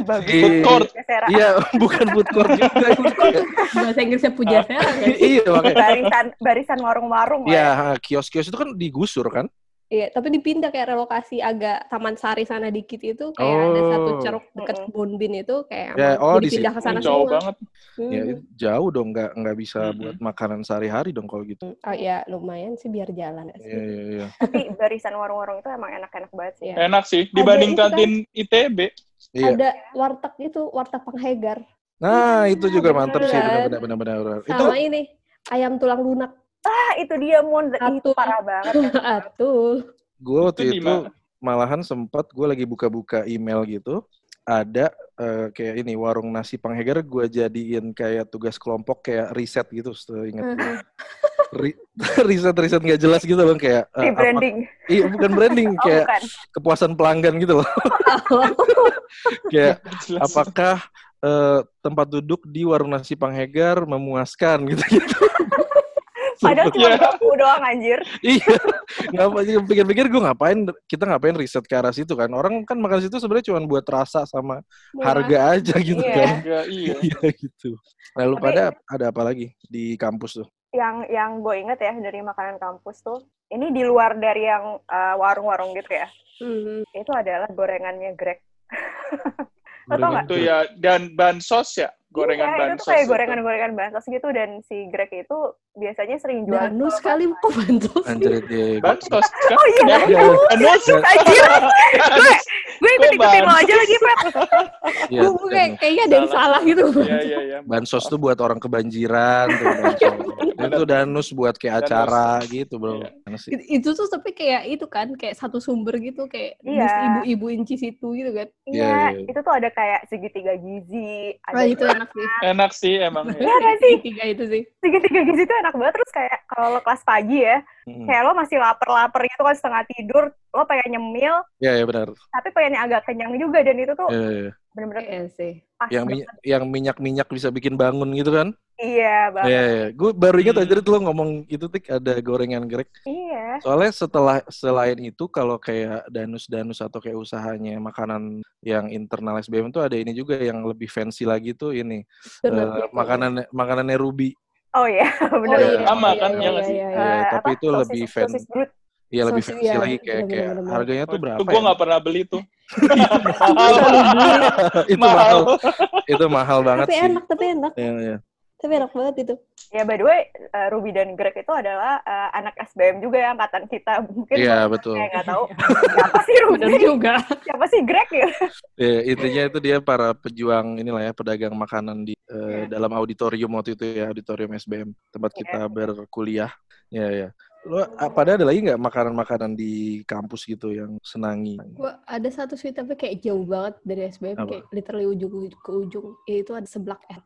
S4: Bagus.
S1: Si-
S3: Food court.
S4: Sera.
S1: Iya, bukan food court juga itu. kayak-
S2: Bahasa Inggrisnya puja Vera kan?
S1: Iya, makanya.
S4: Barisan barisan warung-warung
S1: Iya,
S4: lah
S1: kios-kios itu kan digusur kan?
S2: Iya, tapi dipindah kayak relokasi agak Taman Sari sana dikit itu kayak ada satu
S1: Oh.
S2: ceruk deket
S4: Mm-mm.
S2: Bonbin itu kayak
S1: Ya,
S2: emang
S1: oh, di
S2: dipindah
S1: situ.
S2: ke sana
S3: Jauh
S2: semua.
S4: Iya.
S3: banget.
S2: Hmm.
S1: Ya, itu jauh dong nggak nggak bisa
S3: Mhm.
S1: buat makanan sehari-hari dong kalau gitu.
S2: Oh iya, lumayan sih biar jalan. ya
S1: Iya,
S2: sih.
S1: iya, iya.
S4: ya. Tapi barisan warung-warung itu emang enak-enak banget sih.
S2: Iya.
S3: Enak sih. Dibanding
S2: itu kan.
S3: kantin ITB.
S1: Iya.
S2: Ada warteg itu, warteg penghegar.
S1: Nah, itu juga mantap sih
S2: beneran.
S1: benar-benar benar-benar. Itu
S2: Sama ini, ayam tulang lunak.
S4: Ah, itu dia Mun.
S2: Satu.
S4: Itu parah banget. ya.
S2: Atul.
S1: gue waktu
S3: Itu di
S1: itu,
S3: mana?
S1: malahan sempat gue lagi buka-buka email gitu, ada eh, kayak ini warung nasi panghegar gue jadiin kayak tugas kelompok kayak riset gitu,
S2: Hmm.
S1: seingat gue. Ri- riset-riset nggak jelas gitu loh kayak eh,
S4: Di
S1: apa-
S4: branding.
S1: Iya, bukan branding
S4: Oh,
S1: kayak
S4: bukan.
S1: kepuasan pelanggan gitu loh. kayak
S3: Jelas.
S1: apakah eh, tempat duduk di warung nasi panghegar memuaskan gitu? gitu-gitu.
S4: Padahal cuma
S3: Iya.
S4: baku doang anjir.
S1: iya ngapa pikir-pikir gue ngapain kita ngapain riset ke arah situ kan orang kan makan situ sebenarnya cuma buat rasa sama harga aja gitu
S4: Iya.
S1: kan
S3: Harga, iya.
S1: iya gitu lalu
S4: Tapi-
S1: pada ada apa lagi di kampus tuh
S4: Yang yang gue inget ya dari makanan kampus tuh. Ini di luar dari yang eh, warung-warung gitu ya.
S2: Hmm.
S4: Itu adalah gorengannya Greg. Lo tau nggak?
S3: Itu ya. Dan bansos ya. Gorengan
S4: Iya, Itu
S3: bansos.
S4: tuh kayak
S3: itu.
S4: gorengan-gorengan bansos gitu. Dan si Greg itu biasanya sering jual.
S2: Danus kali kok bantu sih.
S1: anjir dia
S3: Bansos kan?
S4: Oh iya,
S3: Ya, Bansos.
S1: Dan-
S4: Anjir,
S3: Bansos.
S4: gue ikut-ikutin lo aja lagi, Fred.
S1: iya,
S2: Gue kayak,
S1: dan
S2: kayaknya ada yang salah gitu.
S3: Iya, iya, iya.
S1: bansos tuh buat orang kebanjiran tuh bansos.
S3: iya.
S1: Dan itu danus buat kayak
S3: Danus.
S1: acara gitu bro
S3: Iya.
S1: Mana sih?
S2: It- Itu tuh tapi kayak itu kan, kayak satu sumber gitu. Kayak
S4: Iya.
S2: dus ibu-ibu inci situ gitu kan.
S1: Iya,
S4: Iya,
S1: iya.
S4: itu tuh ada kayak segitiga gizi.
S2: Nah,
S4: Ada
S2: itu enak sih.
S3: Enak sih emang. ya.
S4: Iya nggak sih?
S2: Tiga itu sih.
S4: segitiga gizi itu enak banget. Terus kayak kalau lo kelas pagi ya,
S1: Mm.
S4: kayak lo masih lapar-lapar gitu kan setengah tidur, lo pengen nyemil,
S1: iya iya benar
S4: tapi pengennya agak kenyang juga. Dan itu tuh
S1: Iya, iya, iya.
S4: bener-bener
S2: Iya sih.
S4: pas.
S1: yang
S4: banget.
S1: minyak yang minyak minyak bisa bikin bangun gitu kan Iya,
S4: Iya, banget.
S1: gue baru ingat
S3: Hmm.
S1: aja tuh lo ngomong itu tik ada gorengan Greg.
S4: Iya.
S1: Soalnya setelah selain itu kalau kayak danus-danus atau kayak usahanya makanan yang internal SBM tuh ada ini juga yang lebih fancy lagi tuh ini
S2: Donat
S1: eh,
S2: gitu.
S1: makanan makanannya Ruby.
S4: Oh iya,
S2: Oh, iya,
S4: bener.
S1: Sama
S2: iya,
S3: kan,
S2: iya,
S3: ya
S2: iya,
S3: nggak sih?
S2: iya, iya.
S1: Iya,
S4: Eh,
S1: tapi
S4: apa,
S1: itu
S4: sosis-
S1: lebih fan-
S4: sosis brut.
S1: Iya lebih
S2: Sosis,
S1: fancy
S2: iya,
S1: lagi kayak
S2: bener-bener,
S1: kayak
S2: bener-bener.
S1: harganya tuh berapa?
S3: Itu gue
S1: ya?
S3: nggak pernah beli tuh.
S1: itu mahal, itu mahal banget
S2: Tapi
S1: sih.
S2: enak, tapi enak.
S1: Iya, iya.
S2: Tapi enak banget itu.
S4: Ya, by the way, eh, Ruby dan Greg itu adalah eh, anak SBM juga ya, angkatan kita.
S2: Kan
S4: Mungkin
S1: Iya, betul.
S4: saya nggak tahu. Siapa sih Ruby?
S2: Bener juga.
S4: Siapa sih Greg ya?
S1: Iya, intinya itu dia para pejuang inilah ya pedagang makanan di eh,
S2: Iya.
S1: dalam auditorium waktu itu ya auditorium SBM tempat
S4: Iya.
S1: kita berkuliah. Ya ya. Lo a- pada ada lagi nggak makanan-makanan di kampus gitu yang senangi?
S2: Gua ada satu sih tapi kayak jauh banget dari SBM
S1: Apa?
S2: kayak literally ujung ke ujung ya itu ada seblak R.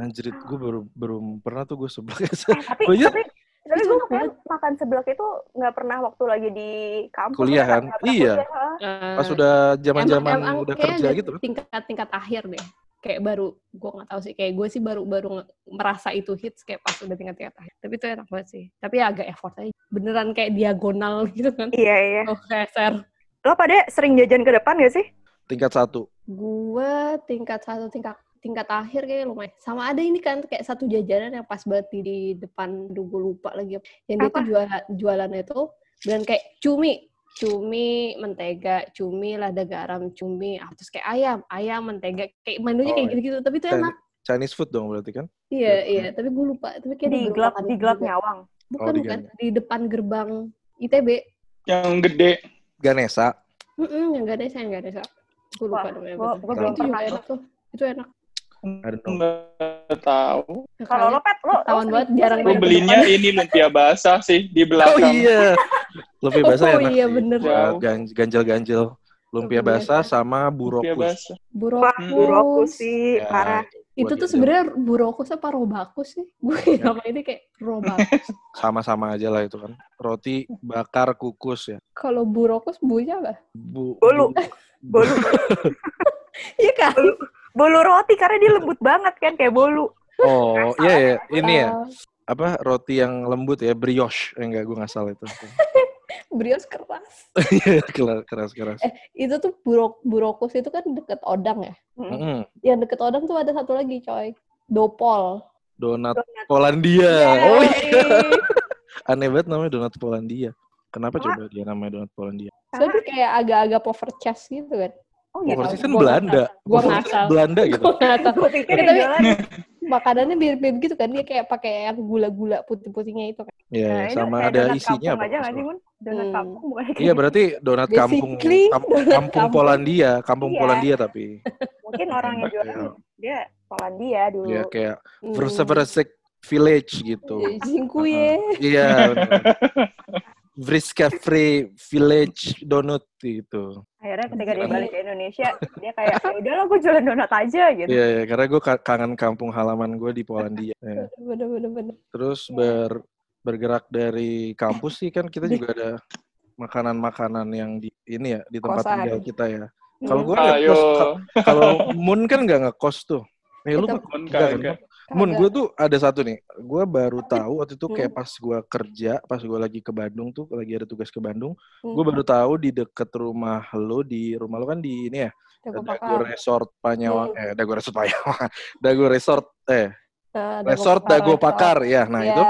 S1: Anjir, gue baru belum pernah tuh gue sebelah.
S4: Eh, tapi,
S1: Oh, iya.
S4: tapi, tapi gue
S2: Itu
S4: makan, makan seblak itu nggak pernah waktu lagi di kampus.
S1: Kuliah kan?
S4: Nggak pernah
S1: Iya.
S4: kuliah, ha.
S1: Pas
S2: Eh,
S1: udah zaman-zaman udah kerja gitu kan.
S2: Tingkat-tingkat akhir deh. Kayak baru gue nggak tahu sih kayak gue sih baru baru nge- merasa itu hits kayak pas udah tingkat-tingkat akhir. Tapi itu enak banget sih. Tapi ya agak effort aja. Beneran kayak diagonal gitu kan.
S4: Iya, iya.
S2: Oh, keser.
S4: Lo pada sering jajan ke depan gak sih?
S1: Tingkat satu.
S2: Gue tingkat satu tingkat tingkat akhir kayak lumayan. Sama ada ini kan kayak satu jajanan yang pas banget di, di depan, aduh gue lupa lagi. Yang dia
S4: Apa?
S2: tuh jualan, jualannya tuh beneran kayak cumi. cumi, mentega, cumi, lada garam, cumi, ah, terus kayak ayam, ayam, mentega, kayak menunya
S1: Oh,
S2: kayak
S1: iya.
S2: gitu-gitu, tapi itu
S1: Chinese-
S2: enak.
S1: Chinese food dong berarti kan?
S2: Iya,
S1: Iya.
S2: iya, tapi gue lupa, tapi kayak ada
S4: di
S2: gerobak
S4: gelap
S2: ada
S4: di gelap
S2: juga.
S4: nyawang
S2: Bukan,
S1: Oh, di
S2: bukan,
S1: Ganyang.
S2: di depan gerbang ITB.
S3: yang gede.
S1: Ganesa.
S2: Mm-mm, yang gak ada, saya yang gak ada, Gue lupa
S4: Wah,
S2: namanya.
S4: gua-
S2: apa.
S4: gua
S1: belum
S2: Itu juga
S4: pernah
S2: enak tuh, itu enak.
S1: Aduh.
S3: Nggak tahu.
S2: Nah,
S4: kalau
S2: kali-
S4: lo pet lo
S2: Ketahuan banget, jarang
S3: Gue
S2: Ada
S3: belinya ini lumpia basah sih di belakang.
S1: iya. Lumpia basah
S2: Oh,
S1: enak
S2: iya,
S1: sih.
S2: bener.
S1: Uh, gan- ganjel-ganjel. Lumpia
S2: Lumpia
S1: basah
S2: basah.
S1: sama
S3: Lumpia
S1: burokus.
S3: basah.
S4: Wah,
S2: burokus.
S4: buroku Hmm, sih
S1: Hmm. Ya,
S4: parah
S2: Itu
S1: buat
S2: tuh
S1: jajan.
S2: sebenarnya burokus apa robakus sih? Gue
S1: Ya.
S2: apa ini kayak robakus.
S1: Sama-sama aja lah itu kan. Roti bakar kukus ya.
S2: Kalau burokus bunya apa?
S1: Bu,
S4: Bolu.
S1: bu-
S4: bolu
S2: Iya kan?
S4: bolu roti karena dia lembut banget kan kayak bolu
S1: Oh, iya ya, ini ya.
S2: Ah,
S1: Apa roti yang lembut ya, brioche. Eh, enggak, gue nggak salah itu.
S2: Brioche keras.
S1: Keras-keras.
S4: Eh.
S2: Itu tuh burok burokus itu kan deket odang ya.
S4: Hmm.
S1: Mm-mm.
S2: Yang deket odang tuh ada satu lagi coy. Dopol.
S1: Donat
S4: Donat.
S1: Polandia. Iya. Oh, iya.
S4: Yeay.
S1: aneh banget namanya donat Polandia. Kenapa coba dia namanya donat Polandia?
S2: Soalnya dia kayak agak-agak overcast gitu kan.
S1: Oh,
S4: Oh, gitu.
S1: persis kan
S2: Gua
S1: Belanda.
S2: Gua
S1: Overseas
S2: ngasal.
S1: Belanda gitu.
S2: Gua nggak tahu.
S4: Gue pikir
S2: Tapi-
S1: Iya,
S4: yang jualan
S2: Makanannya mirip-mirip gitu kan. Dia kayak pakai yang gula-gula putih-putihnya itu kan.
S1: Iya,
S4: Nah, ini
S1: sama
S4: kayak
S1: ada
S4: donat
S1: isinya
S4: kampung
S1: apa?
S4: aja nggak sih, Mun? Donat
S2: Hmm.
S4: kampung bukan kayak gitu.
S1: Iya, berarti donat kampung
S2: Basically,
S1: kam-
S2: donat
S1: kampung
S2: kampung.
S1: Polandia, kampung
S4: Iya.
S1: Polandia tapi
S4: mungkin orang yang jualan
S1: Iya.
S4: dia Polandia dulu.
S1: ya kayak
S2: Hmm.
S1: Vrseversek Village gitu.
S2: Singkuye.
S1: Iya. bener. Vriska Free Village Donut gitu.
S4: Akhirnya ketika dia
S1: Kamu-
S4: balik ke Indonesia, dia kayak ya udahlah gue jualan donat aja gitu.
S1: Iya, iya, karena gue kangen kampung halaman gue di Polandia. Iya.
S2: Bener-bener.
S1: Terus ber bergerak dari kampus sih kan kita juga ada makanan-makanan yang di ini ya di tempat
S4: Kosan.
S1: tinggal kita ya.
S2: Hmm,
S1: Kalau gue
S3: Ayo.
S1: kalau Moon kan nggak ngekos tuh. Eh, lu
S2: Kita-
S1: nggak-
S3: Mun,
S1: Enggak,
S3: kagak.
S1: Mun, gue tuh ada satu nih. Gue baru tahu waktu itu kayak pas gue kerja, pas gue lagi ke Bandung tuh, lagi ada tugas ke Bandung. Gue baru tahu di deket rumah lo, di rumah lo kan di ini ya, Dago Resort Panyawang,
S2: Iya.
S1: eh Dago Resort Panyawang, Dago Resort, eh Resort Dago Pakar, ya. Nah
S4: Iya.
S1: itu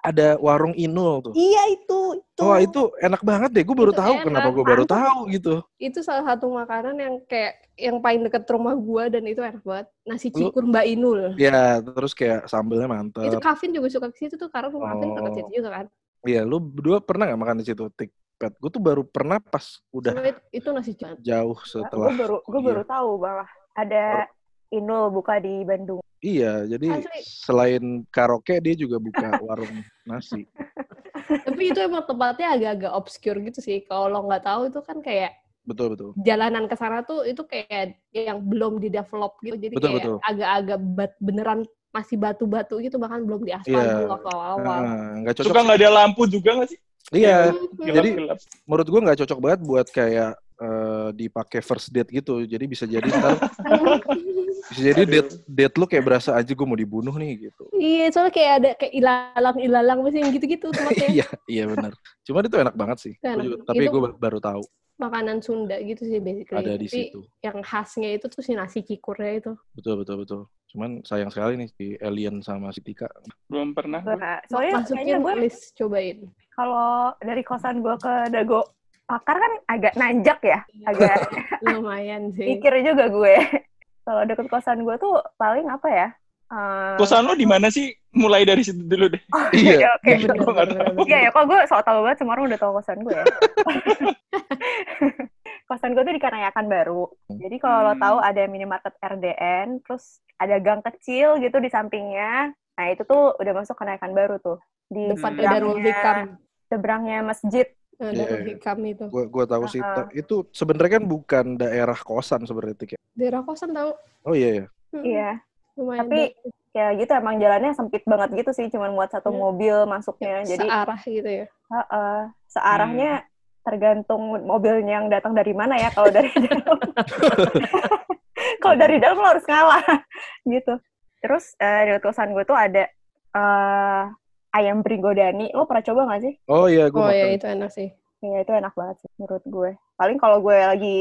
S1: ada warung Inul tuh.
S2: Iya itu, itu.
S1: Wah Oh, itu enak banget deh. Gue baru
S2: Itu
S1: tahu
S2: enak,
S1: kenapa gue baru
S2: mantap.
S1: tahu gitu.
S2: Itu salah satu makanan yang kayak yang paling deket rumah gua dan itu enak banget. Nasi
S1: Lu-
S2: cikur Mbak Inul.
S1: Ya terus kayak sambelnya
S2: Itu
S1: mantep.
S2: Kavin juga suka ke situ tuh karena rumah Kavin deket
S1: Eh. Oh.
S2: situ juga kan.
S1: Iya lu berdua pernah nggak makan di situ? Tikpet. Gue tuh baru pernah pas udah
S2: Cuma itu- itu nasi cikur.
S1: jauh
S4: Gue
S1: setelah.
S4: baru gue
S1: kuliah.
S4: baru tahu bahwa ada Inul buka di Bandung.
S1: Iya, jadi
S2: Asli.
S1: selain karaoke dia juga buka warung nasi.
S2: Tapi itu emang tempatnya agak-agak obscure gitu sih. Kalau lo nggak tahu itu kan kayak
S1: Betul betul.
S2: jalanan ke sana tuh itu kayak yang belum di develop gitu. Jadi
S1: Betul,
S2: kayak
S1: betul.
S2: agak-agak bat- beneran masih batu-batu gitu bahkan belum diaspal
S1: Iya.
S2: dulu waktu awal-awal.
S1: Nah, nggak cocok.
S3: Suka nggak ada lampu juga nggak sih?
S1: Iya,
S2: Mhm.
S1: Jadi-
S3: Gelap-gelap.
S1: menurut gua nggak cocok banget buat kayak eh, dipakai first date gitu. Jadi bisa jadi ntar, bisa jadi
S3: Aduh.
S1: date date lu kayak berasa aja gue mau dibunuh nih gitu.
S2: Iya, soalnya kayak ada kayak ilalang-ilalang mesti yang gitu-gitu tempatnya.
S1: Iya, iya benar. Cuma itu enak banget sih. Gua
S2: Enak.
S1: juga- tapi
S2: Itu-
S1: gue baru tahu
S2: Makanan Sunda gitu sih basically.
S1: ada di
S2: Tapi
S1: situ.
S2: yang khasnya itu tuh si nasi cikurnya itu.
S1: Betul betul betul. Cuman sayang sekali nih si Alien sama si Tika.
S3: Belum pernah.
S4: Gua- soalnya
S2: Masukin
S4: kayaknya gue
S2: list cobain.
S4: kalau dari kosan gue ke Dago Pakar kan agak nanjak ya, agak
S2: Lumayan
S3: Iya.
S2: sih.
S4: mikir juga gue. Kalau deket kosan gue tuh paling apa ya? Eh,
S3: Kosan lo di mana sih? Mulai dari situ dulu deh.
S4: oh,
S1: Iya.
S4: iya, oke.
S2: Bener,
S3: Gua nggak
S2: bener, bener,
S4: Iya
S2: bener.
S4: ya, kok gue sok tau banget semua orang udah tau kosan gue ya. kosan gue tuh di Kanayakan baru. Jadi kalau lo
S3: Hmm.
S4: tahu ada minimarket RDN, terus ada gang kecil gitu di sampingnya. Nah itu tuh udah masuk Kanayakan baru tuh. Di
S2: Depan
S3: Hmm.
S2: ada Darul Hikam.
S4: seberangnya, seberangnya masjid.
S2: Ada
S1: Iya,
S2: Darul
S1: iya.
S2: Hikam itu.
S1: Gue gue tahu sih
S4: Uh-uh.
S1: Ta- itu sebenarnya kan bukan daerah kosan sebenarnya Tika.
S2: Daerah kosan tau.
S1: Oh iya ya.
S2: Mhm,
S4: Iya.
S2: Lumayan
S4: Tapi-
S2: deket.
S4: Ya gitu emang jalannya sempit banget gitu sih, cuman muat satu
S2: Iya.
S4: mobil masuknya. Jadi
S2: searah gitu ya.
S4: heeh, searahnya tergantung mobilnya yang datang dari mana ya. Kalau dari dalam, kalau dari dalam lo harus ngalah gitu. Terus eh, di kosan gue tuh ada eh, ayam bringodani. Lo pernah coba nggak sih?
S1: Oh iya gue
S2: oh
S1: makan.
S2: ya itu enak sih.
S4: Iya itu enak banget sih menurut gue. Paling kalau gue lagi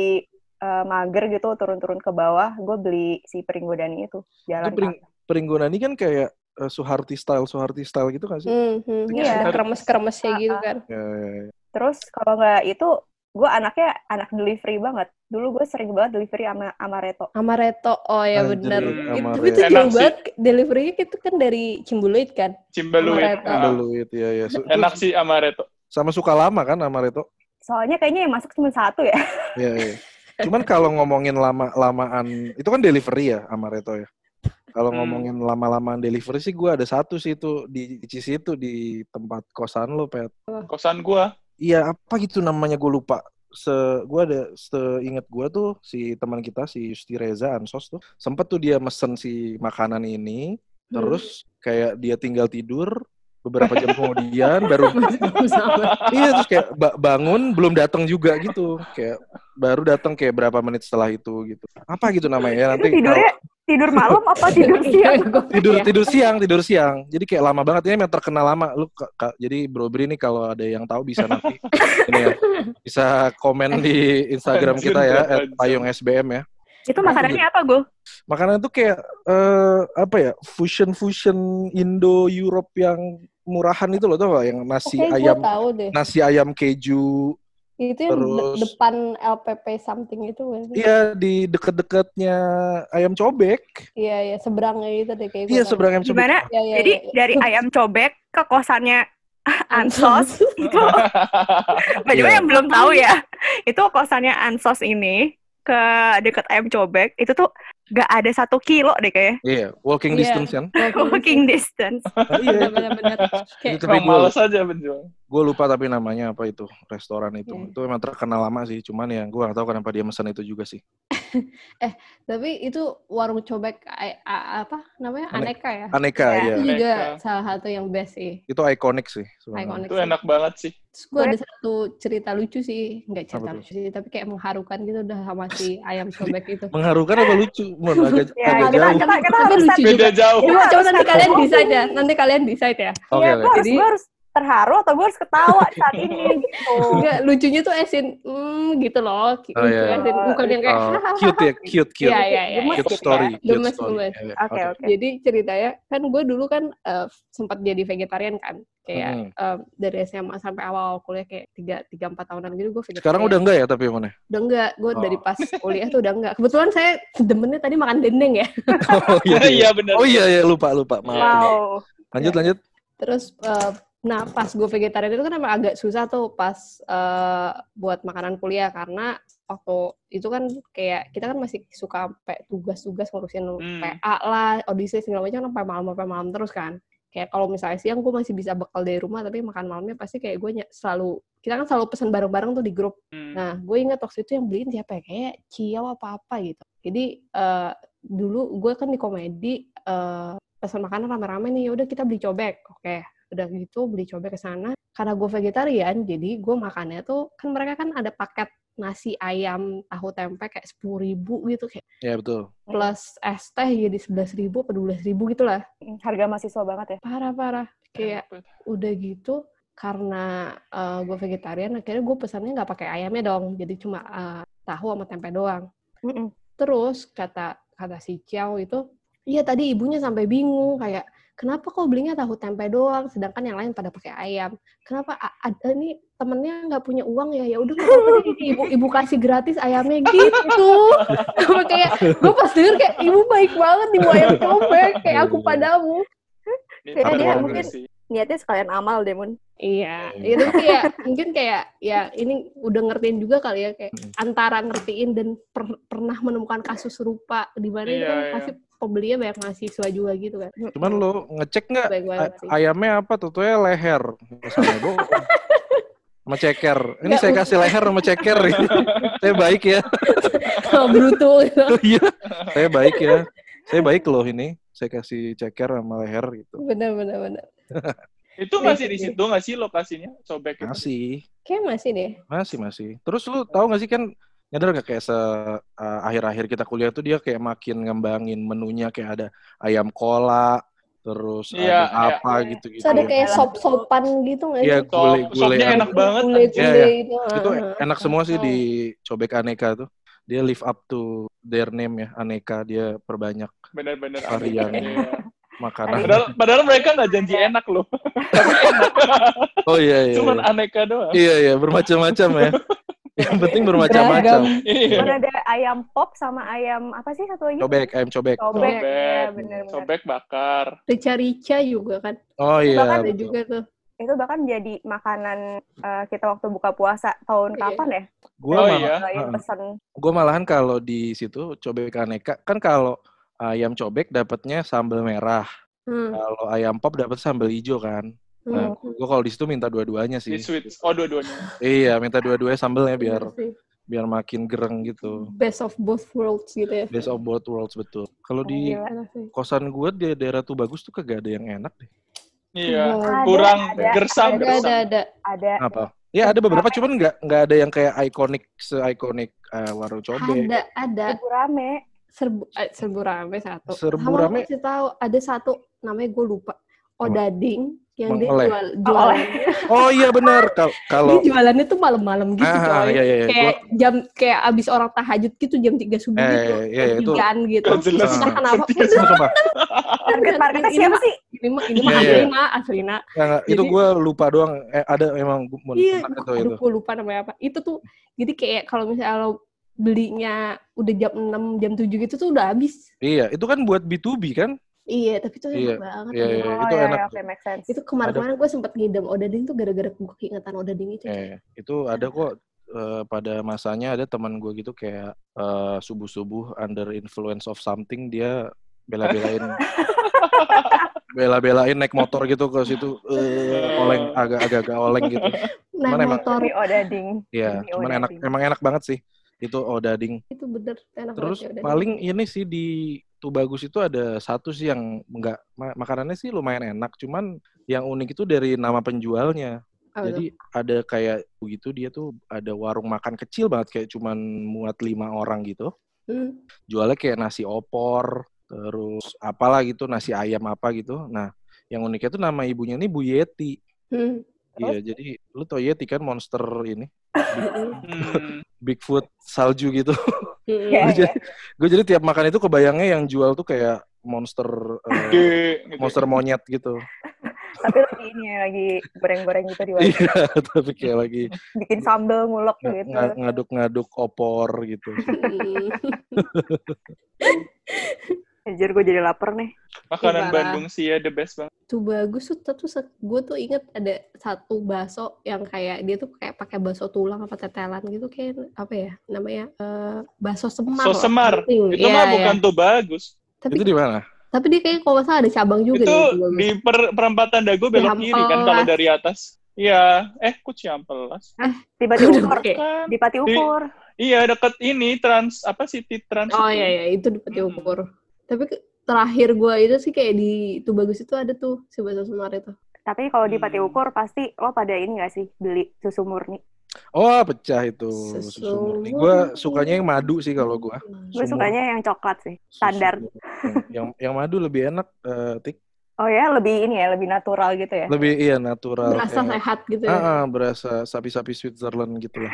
S4: eh, mager gitu turun-turun ke bawah, gue beli si pringgodani itu jalan.
S1: Itu pring- Pringgonani kan kayak eh, Suharti style Suharti style gitu kan sih?
S2: Hmm, hmm.
S1: Iya.
S2: Ada kremes-kremesnya gitu kan.
S1: Ya, ya, ya.
S4: Terus kalau nggak itu gue anaknya anak delivery banget dulu gue sering banget delivery sama amaretto
S2: Amaretto. Oh ya
S1: Anjir,
S2: benar. Itu,
S1: Amaretto.
S2: itu
S3: Enak
S2: jauh
S3: sih.
S2: banget delivery-nya itu kan dari Cimbeluit kan.
S3: Cimbeluit.
S2: Amaretto.
S3: Ah,
S1: Beluit, ya ya. Su-
S3: Enak sih amaretto.
S1: Sama suka lama kan Amaretto?
S4: soalnya kayaknya yang masuk cuma satu ya
S1: Iya, iya. Cuman kalau ngomongin lama-lamaan, itu kan delivery ya Amaretto ya. Kalau
S3: Hmm.
S1: ngomongin lama-lamaan delivery sih gue ada satu sih itu di di situ di tempat kosan lo, Pet.
S3: Kosan gua.
S1: Iya, apa gitu namanya gue lupa. Se gua ada seingat gua tuh si teman kita si Yusti Reza Ansos tuh sempet tuh dia mesen si makanan ini terus kayak dia tinggal tidur beberapa jam kemudian baru iya terus kayak ba- bangun belum datang juga gitu kayak baru datang kayak berapa menit setelah itu gitu apa gitu namanya ya
S4: itu
S1: nanti
S4: tidurnya tidur malam apa tidur siang
S1: kalau- tidur tidur siang tidur siang jadi kayak lama banget ini yang terkenal lama lu ka- ka- jadi Bro Bri nih kalau ada yang tahu bisa nanti ini ya, bisa komen di Instagram
S3: Anjir,
S1: kita ya
S3: berapa
S1: at
S3: jam.
S1: payung SBM ya
S4: itu makanannya apa gue
S1: makanan tuh kayak eh, apa ya fusion fusion Indo Europe yang murahan itu loh tau gak yang nasi
S2: Oke, gue
S1: ayam
S2: Oh, tahu deh.
S1: nasi ayam keju
S2: itu yang de-
S1: terus-
S2: depan LPP something itu kan. sih?
S1: Iya di deket-deketnya ayam cobek.
S2: Iya, iya, seberangnya itu deh kayak gua
S1: Iya
S2: tahu.
S1: seberang ayam cobek.
S4: gimana
S2: Iya, iya,
S4: jadi
S2: iya, iya.
S4: dari ayam cobek ke kosannya ansos itu By the way,
S1: Iya.
S4: yang belum tahu ya, itu kosannya Ansos ini ke deket ayam cobek itu tuh gak ada satu kilo deh kayaknya
S1: Iya walking
S2: Iya.
S1: distance kan.
S4: walking distance.
S1: Nah, iya. Gitu. itu.
S2: benar-benar kayak
S1: Itu tapi
S3: Emang
S1: gue
S3: males aja menjual.
S1: gue lupa tapi namanya apa itu restoran itu.
S2: Iya.
S1: Itu emang terkenal lama sih. Cuman ya gue gak tahu kenapa dia mesen itu juga sih.
S2: tapi itu warung cobek a- a- apa namanya
S1: Aneka.
S2: aneka ya
S1: Aneka
S4: Iya.
S1: ya.
S2: itu juga
S3: Aneka.
S2: salah satu yang best sih
S1: Itu ikonik sih. sebenarnya.
S2: Ikonik.
S3: Itu enak banget sih.
S2: terus gue ada satu cerita lucu sih nggak cerita
S1: Apa tuh?
S2: lucu sih tapi kayak mengharukan gitu udah sama si ayam cobek itu
S1: Mengharukan apa lucu? Mau agak,
S2: Iya,
S4: Ya,
S1: agak jauh.
S4: kita, kita, kita
S2: Tapi
S4: harus
S2: lucu
S4: lucu.
S3: Beda jauh.
S2: coba, coba nanti
S4: Iya.
S2: kalian decide ya nanti kalian decide ya
S1: Oke.
S4: ya,
S1: oke.
S4: gue harus,
S2: Jadi-
S4: gua harus terharu atau gue harus ketawa saat ini gitu.
S2: Enggak, lucunya tuh esin mm, gitu loh lucu
S1: Oh, iya.
S2: esin bukan yang kayak
S1: Oh, cute ya, cute, cute.
S2: Iya, iya, iya.
S1: Cute
S4: Gemes gitu
S1: story,
S2: ya.
S1: cute
S2: Gemes,
S1: story.
S2: gemes.
S1: Iya, iya.
S4: Oke, oke.
S2: Jadi ceritanya kan gue dulu kan eh, sempat jadi vegetarian kan kayak
S1: Mm-mm.
S2: eh, dari SMA sampai awal kuliah kayak tiga tiga empat tahunan gitu gue vegetarian.
S1: Sekarang udah enggak ya tapi mana?
S2: udah enggak gue
S1: Oh.
S2: dari pas kuliah tuh udah enggak. Kebetulan saya demennya tadi makan dendeng ya.
S1: Oh iya. iya.
S3: Iya benar.
S1: Oh iya, iya lupa lupa maaf.
S4: Wow.
S1: Lanjut lanjut.
S2: Terus eh, nah pas gue vegetarian itu kan emang agak susah tuh pas eh, buat makanan kuliah karena waktu itu kan kayak kita kan masih suka sampai tugas-tugas ngurusin
S3: Hmm.
S2: PA lah, audisi segala macam kan sampai malam sampai malam terus kan. Kayak kalau misalnya siang gue masih bisa bekal dari rumah tapi makan malamnya pasti kayak gue ny- selalu kita kan selalu pesan bareng-bareng tuh di grup
S3: Hmm.
S2: Nah, gue ingat waktu itu yang beliin siapa ya? Kayak Ciao apa-apa gitu. Jadi, eh, dulu gue kan di komedi, eh, pesan makanan rame-rame nih, "Ya udah kita beli cobek. Oke, udah gitu beli cobek ke sana. Karena gue vegetarian, jadi gue makannya tuh, kan mereka kan ada paket nasi ayam tahu tempe kayak sepuluh ribu gitu kayak
S1: Ya betul.
S2: plus es teh jadi sebelas ribu atau dua ribu gitulah
S4: Harga mahasiswa banget ya.
S2: parah parah
S1: iya.
S2: kayak udah gitu karena gue vegetarian akhirnya gue pesannya nggak pakai ayamnya dong jadi cuma eh, tahu sama tempe doang
S4: Mm-mm.
S2: terus kata kata si Ciao itu iya tadi ibunya sampai bingung kayak kenapa kok belinya tahu tempe doang sedangkan yang lain pada pakai ayam kenapa a- ada nih temennya nggak punya uang ya ya udah nggak apa-apa deh, ini ibu ibu kasih gratis ayamnya gitu Gua kayak gue pas denger kayak ibu baik banget di ayam cobek kayak aku padamu
S3: Ini
S1: Tapi
S3: bener
S1: mungkin-
S3: sih.
S4: Niatnya sekalian amal deh, Mun.
S2: Iya,
S1: Iya.
S2: itu kayak mungkin kayak ya ini udah ngertiin juga kali ya kayak
S1: Mm.
S2: antara ngertiin dan per- pernah menemukan kasus serupa di mana itu
S3: Iya,
S2: kan
S3: iya.
S2: pasti pembelinya banyak mahasiswa juga gitu kan.
S1: Cuman lo ngecek nggak
S2: Baik banget
S1: A-
S2: sih.
S1: ayamnya apa tentunya leher misalnya bu sama ceker ini
S2: Nggak,
S1: saya
S2: mungkin.
S1: kasih leher sama ceker gitu. saya baik ya
S2: Kalau bruto gitu.
S1: Iya. saya baik ya saya baik loh ini saya kasih ceker sama leher gitu
S2: Bener bener bener.
S3: Itu masih di situ nggak sih lokasinya cobek itu?
S1: masih
S2: Kayak masih deh.
S1: masih masih terus lu tahu nggak sih kan nyadar nggak kayak se uh, akhir-akhir kita kuliah tuh dia kayak makin ngembangin menunya kayak ada ayam kola terus ada
S3: Iya, iya.
S1: apa gitu-gitu ya.
S2: Terus ada kayak
S4: Iya.
S2: sop-sopan gitu nggak sih?
S1: Iya, gulai
S3: Sop- sopnya
S1: gulai
S3: enak banget.
S2: Gulai-gulai
S1: Iya,
S2: itu.
S1: itu
S2: ah, ah.
S1: enak semua sih
S2: Oh.
S1: di cobek aneka tuh dia live up to their name ya aneka dia perbanyak
S3: Bener-bener.
S1: Varian.
S3: Iya.
S1: makanan
S3: Padahal, padahal mereka nggak janji enak loh.
S1: oh iya iya
S3: Cuman
S1: iya.
S3: aneka doang.
S1: iya iya bermacam-macam ya Yang penting bermacam-macam.
S3: Iya.
S4: Cuman ada ayam pop sama ayam apa sih satu lagi?
S1: Cobek, ayam cobek. Oh,
S3: Cobek.
S4: Cobek. Ya, bener, bener.
S3: Sobek bakar.
S2: Rica-rica juga kan.
S1: Oh
S4: Bahkan
S1: iya.
S2: Ada
S1: betul.
S2: juga tuh.
S4: Itu bahkan jadi makanan eh, kita waktu buka puasa tahun
S2: Iya.
S4: kapan ya?
S1: Gua
S3: Oh,
S1: malah-
S3: iya.
S4: Selain
S1: Heeh.
S4: pesen.
S1: gue malahan kalau di situ cobek aneka kan kalau ayam cobek dapatnya sambal merah
S2: Hmm.
S1: kalau ayam pop dapat sambal hijau kan nah,
S2: hmm.
S1: gue kalau di situ minta dua-duanya
S3: Di
S1: sih
S3: sweet. Oh, dua-duanya.
S1: iya minta dua-duanya sambelnya biar
S2: Bener sih.
S1: biar makin gereng gitu
S2: best of both worlds gitu ya.
S1: best of both worlds betul kalau di
S4: Gila.
S2: Enak sih.
S1: kosan gue di daerah tuh bagus tuh kagak ada yang enak deh
S3: Iya.
S2: Ada,
S3: Kurang
S4: ada,
S3: gersam,
S2: Ada
S3: gersam.
S2: ada ada.
S4: Ada
S1: apa ya ada beberapa cuman nggak nggak ada yang kayak ikonik se ikonik warung cobek
S2: Ada ada
S4: ibu rame.
S2: serbu eh, serbu rame satu.
S1: Serbu
S2: Sama
S1: rame.
S2: aku kasih tahu ada satu namanya gue lupa. Odading yang dia
S1: Mengoleh.
S2: jual jualan.
S1: oh iya benar Kal-
S2: Dia
S1: kalau
S2: jualannya tuh malam-malam gitu
S1: ah
S2: coy.
S1: iya iya iya.
S2: Kayak
S1: Gua-
S2: jam kayak abis orang tahajud gitu jam 3 subuh
S1: Eh,
S2: gitu.
S1: iya, iya, itu-
S2: Tigaan gitu.
S3: Gak jelas.
S1: Iya.
S2: Entah kenapa.
S1: Sumpah, sumpah.
S4: Target marketnya
S2: Ini
S4: siapa
S2: mah-
S4: sih?
S2: ini mah ini mah
S1: Iya, iya.
S2: Asrina, Asrina.
S1: Nggak, nggak, itu
S2: Jadi-
S1: gue lupa doang eh, ada emang gue mau
S2: Iya,
S1: enak itu
S2: aduh,
S1: itu
S2: gua lupa namanya apa. Itu tuh jadi kayak kalau misalnya lo belinya udah jam 6, jam 7 gitu tuh udah habis.
S1: iya itu kan buat B2B kan
S2: Iya, tapi itu enak
S1: Iya,
S2: banget.
S1: iya,
S2: enak.
S1: iya,
S4: Oh,
S1: itu
S4: iya,
S1: enak
S4: iya, Oke, make sense.
S2: Itu kemarin-kemarin gue sempet ngidam Odading tuh gara-gara gue keingetan Odading itu.
S1: eh, itu ada kok eh, pada masanya ada teman gue gitu kayak subuh subuh under influence of something dia bela belain bela belain naik motor gitu ke situ eh, oleng agak agak agak oleng gitu
S2: Nah,
S1: Mana emang?
S2: motor
S4: Demi odading.
S1: ya
S4: Demi
S1: cuman enak
S4: odading.
S1: emang enak banget sih itu odading
S2: itu bener enak
S1: Terus
S2: banget ya, Odading.
S1: paling ini sih di Tubagus itu ada satu sih yang enggak makanannya sih lumayan enak, cuman yang unik itu dari nama penjualnya.
S2: Apa tuh?
S1: Jadi ada kayak begitu dia tuh ada warung makan kecil banget kayak cuman muat lima orang gitu.
S2: Hmm.
S1: Jualnya kayak nasi opor, terus apalah gitu, nasi ayam apa gitu. Nah, yang uniknya tuh nama ibunya ini Bu Yeti.
S2: Hmm.
S1: Iya, jadi lu tau Yeti kan monster ini
S3: Hmm.
S1: Bigfoot salju gitu.
S2: Hmm.
S4: Iya,
S1: Gua
S4: iya.
S1: jadi, gua jadi tiap makan itu kebayangnya yang jual tuh kayak monster eh,
S3: Gede, gitu.
S1: monster monyet gitu.
S4: Tapi lagi ini ya, lagi goreng-goreng gitu di warung.
S1: Iya, tapi kayak lagi
S4: Bikin sambel ngulek
S1: nga-
S4: gitu.
S1: nga- ngaduk-ngaduk opor gitu.
S2: Hmm.
S4: Anjir, gue jadi lapar nih.
S3: Makanan
S2: Ibarat.
S3: Bandung sih ya the best banget.
S2: tuh bagus tuh tuh gue tuh inget ada satu bakso yang kayak dia tuh kayak pakai bakso tulang apa tetelan gitu kayak apa ya namanya eh bakso semar lah,
S3: Bakso semar.
S2: something.
S3: Itu
S2: Iya,
S3: mah
S2: iya.
S3: bukan tuh bagus.
S2: tapi
S1: Itu di mana?
S2: tapi dia kayak kalau nggak salah ada cabang juga
S3: itu
S2: deh,
S3: di per- perempatan dago belok kiri kan
S2: Ciampelas.
S3: kalau dari atas. Iya, eh kok Ciampelas?
S4: Tiba
S2: Udah,
S4: diukur.
S2: oke.
S3: Kan.
S4: Di pati ukur.
S3: Iya, deket ini trans apa City Trans.
S4: gitu.
S2: oh
S3: itu.
S2: iya iya itu di peti
S3: Mm.
S2: ukur tapi ke- terakhir gue itu sih kayak di tuh bagus itu ada tuh si bakso semar itu
S4: Tapi kalau di pati
S3: Hmm.
S4: ukur pasti lo pada ini gak sih? Beli susu murni.
S1: Oh, pecah itu
S2: Susu
S1: susu murni.
S2: murni.
S1: Gue sukanya yang madu sih kalau gue.
S2: Nah,
S4: Gue
S1: Susu
S4: sukanya yang coklat sih.
S1: Susu
S4: Standar.
S1: murni. Yang yang madu lebih enak, eh, Tik.
S4: Oh ya, lebih ini ya, lebih natural gitu ya.
S1: Lebih iya natural.
S2: berasa
S1: kayak-
S2: sehat gitu
S1: Ah,
S2: ya
S1: ah, berasa sapi-sapi Switzerland gitu lah.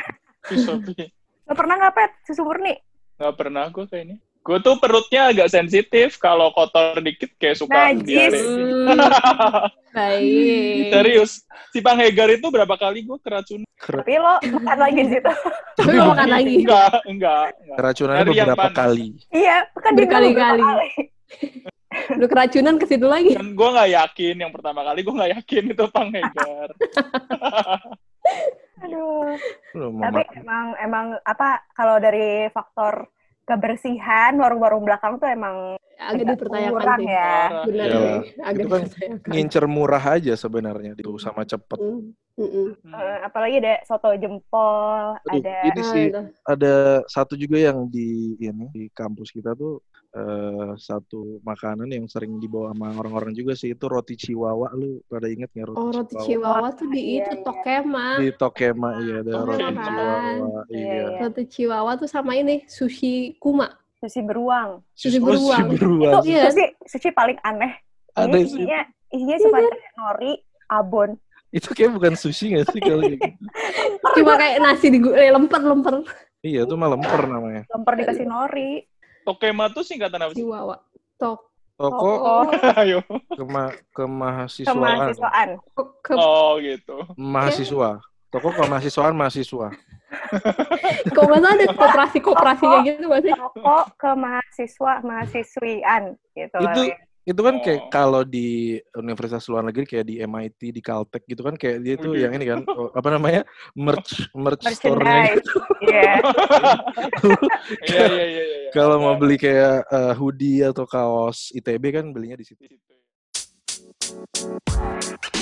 S3: Sopi.
S4: Lo pernah nggak pet susu murni?
S3: Nggak pernah gue kayaknya. Gue tuh perutnya agak sensitif. Kalau kotor dikit kayak suka
S4: Najis.
S3: diare.
S2: Hmm, baik
S3: Serius. Si Bang Hegar itu berapa kali gue keracunan?
S4: Tapi lo makan lagi di situ.
S1: Tapi
S2: tapi makan lagi
S3: Enggak, enggak. enggak.
S1: Keracunannya
S3: Dari yang
S1: beberapa
S3: panas.
S1: kali.
S4: iya, kan dia bilang
S2: Berkali-kali.
S4: berapa kali.
S2: lu keracunan ke situ lagi
S3: Kan gue nggak yakin. Yang pertama kali gue nggak yakin itu Bang Hegar.
S4: Aduh.
S1: Lu mau
S4: Tapi
S1: makan.
S4: emang emang apa kalau dari faktor kebersihan warung-warung belakang tuh emang
S2: agak
S4: agak
S2: dipertanyakan
S4: kurang
S2: sih
S4: ya.
S3: Parah.
S2: benar
S1: Iyalah.
S2: sih agak
S1: Itu kan
S2: dipertanyakan
S1: ngincer murah aja sebenarnya itu sama cepet.
S2: Mm, mm, mm.
S3: Hmm.
S4: Eh, apalagi ada soto jempol,
S1: Oh. Aduh, gitu,
S4: ada
S1: ini
S2: Ah,
S1: sih
S2: itu.
S1: ada satu juga yang di ini di kampus kita tuh eh, satu makanan yang sering dibawa sama orang-orang juga sih itu roti ciwawa lu pada inget nggak roti,
S2: oh roti Chihuahua tuh di itu
S4: Iya, iya.
S2: Tokema
S1: di Tokema iya ada
S2: Oh,
S1: roti
S3: kan.
S1: ciwawa
S4: Iya,
S1: iya
S4: iya.
S2: roti Chihuahua tuh sama ini sushi kuma
S4: sushi beruang.
S2: Sushi
S1: Oh, sushi
S2: beruang.
S1: beruang
S2: Itu- Iya.
S4: Sushi sushi paling aneh.
S1: ada
S4: Ini
S1: sih
S4: Iya, isinya isinya cuma nori, abon.
S1: itu kayak bukan sushi nggak sih kalau kayak gitu?
S2: cuma kayak nasi di eh, lemper lemper
S1: iya itu mah lemper namanya
S4: Lemper dikasih nori.
S3: Tokema tuh singkatan apa sih?
S2: Chihuahua Tok
S1: toko
S4: Oh,
S3: Ayo.
S1: kema kemahasiswaan
S4: kemahasiswaan.
S2: ke
S3: Oh gitu.
S1: mahasiswa toko kemahasiswaan mahasiswa
S2: Kok nggak salah ada kooperasi-kooperasi kayak gitu masih.
S4: Toko ke mahasiswa mahasiswian gitu.
S1: Itu
S4: kali.
S1: itu kan kayak
S3: Oh.
S1: kalau di universitas luar negeri kayak di MIT, di Caltech gitu kan kayak dia tuh
S3: Wih.
S1: yang ini kan oh, apa namanya? merch merch store-nya.
S4: merchandise. Iya.
S3: Iya, iya, iya. iya.
S1: gitu. Kalau mau beli kayak eh,
S3: ya.
S1: hoodie atau kaos ITB kan belinya di situ.
S3: beli.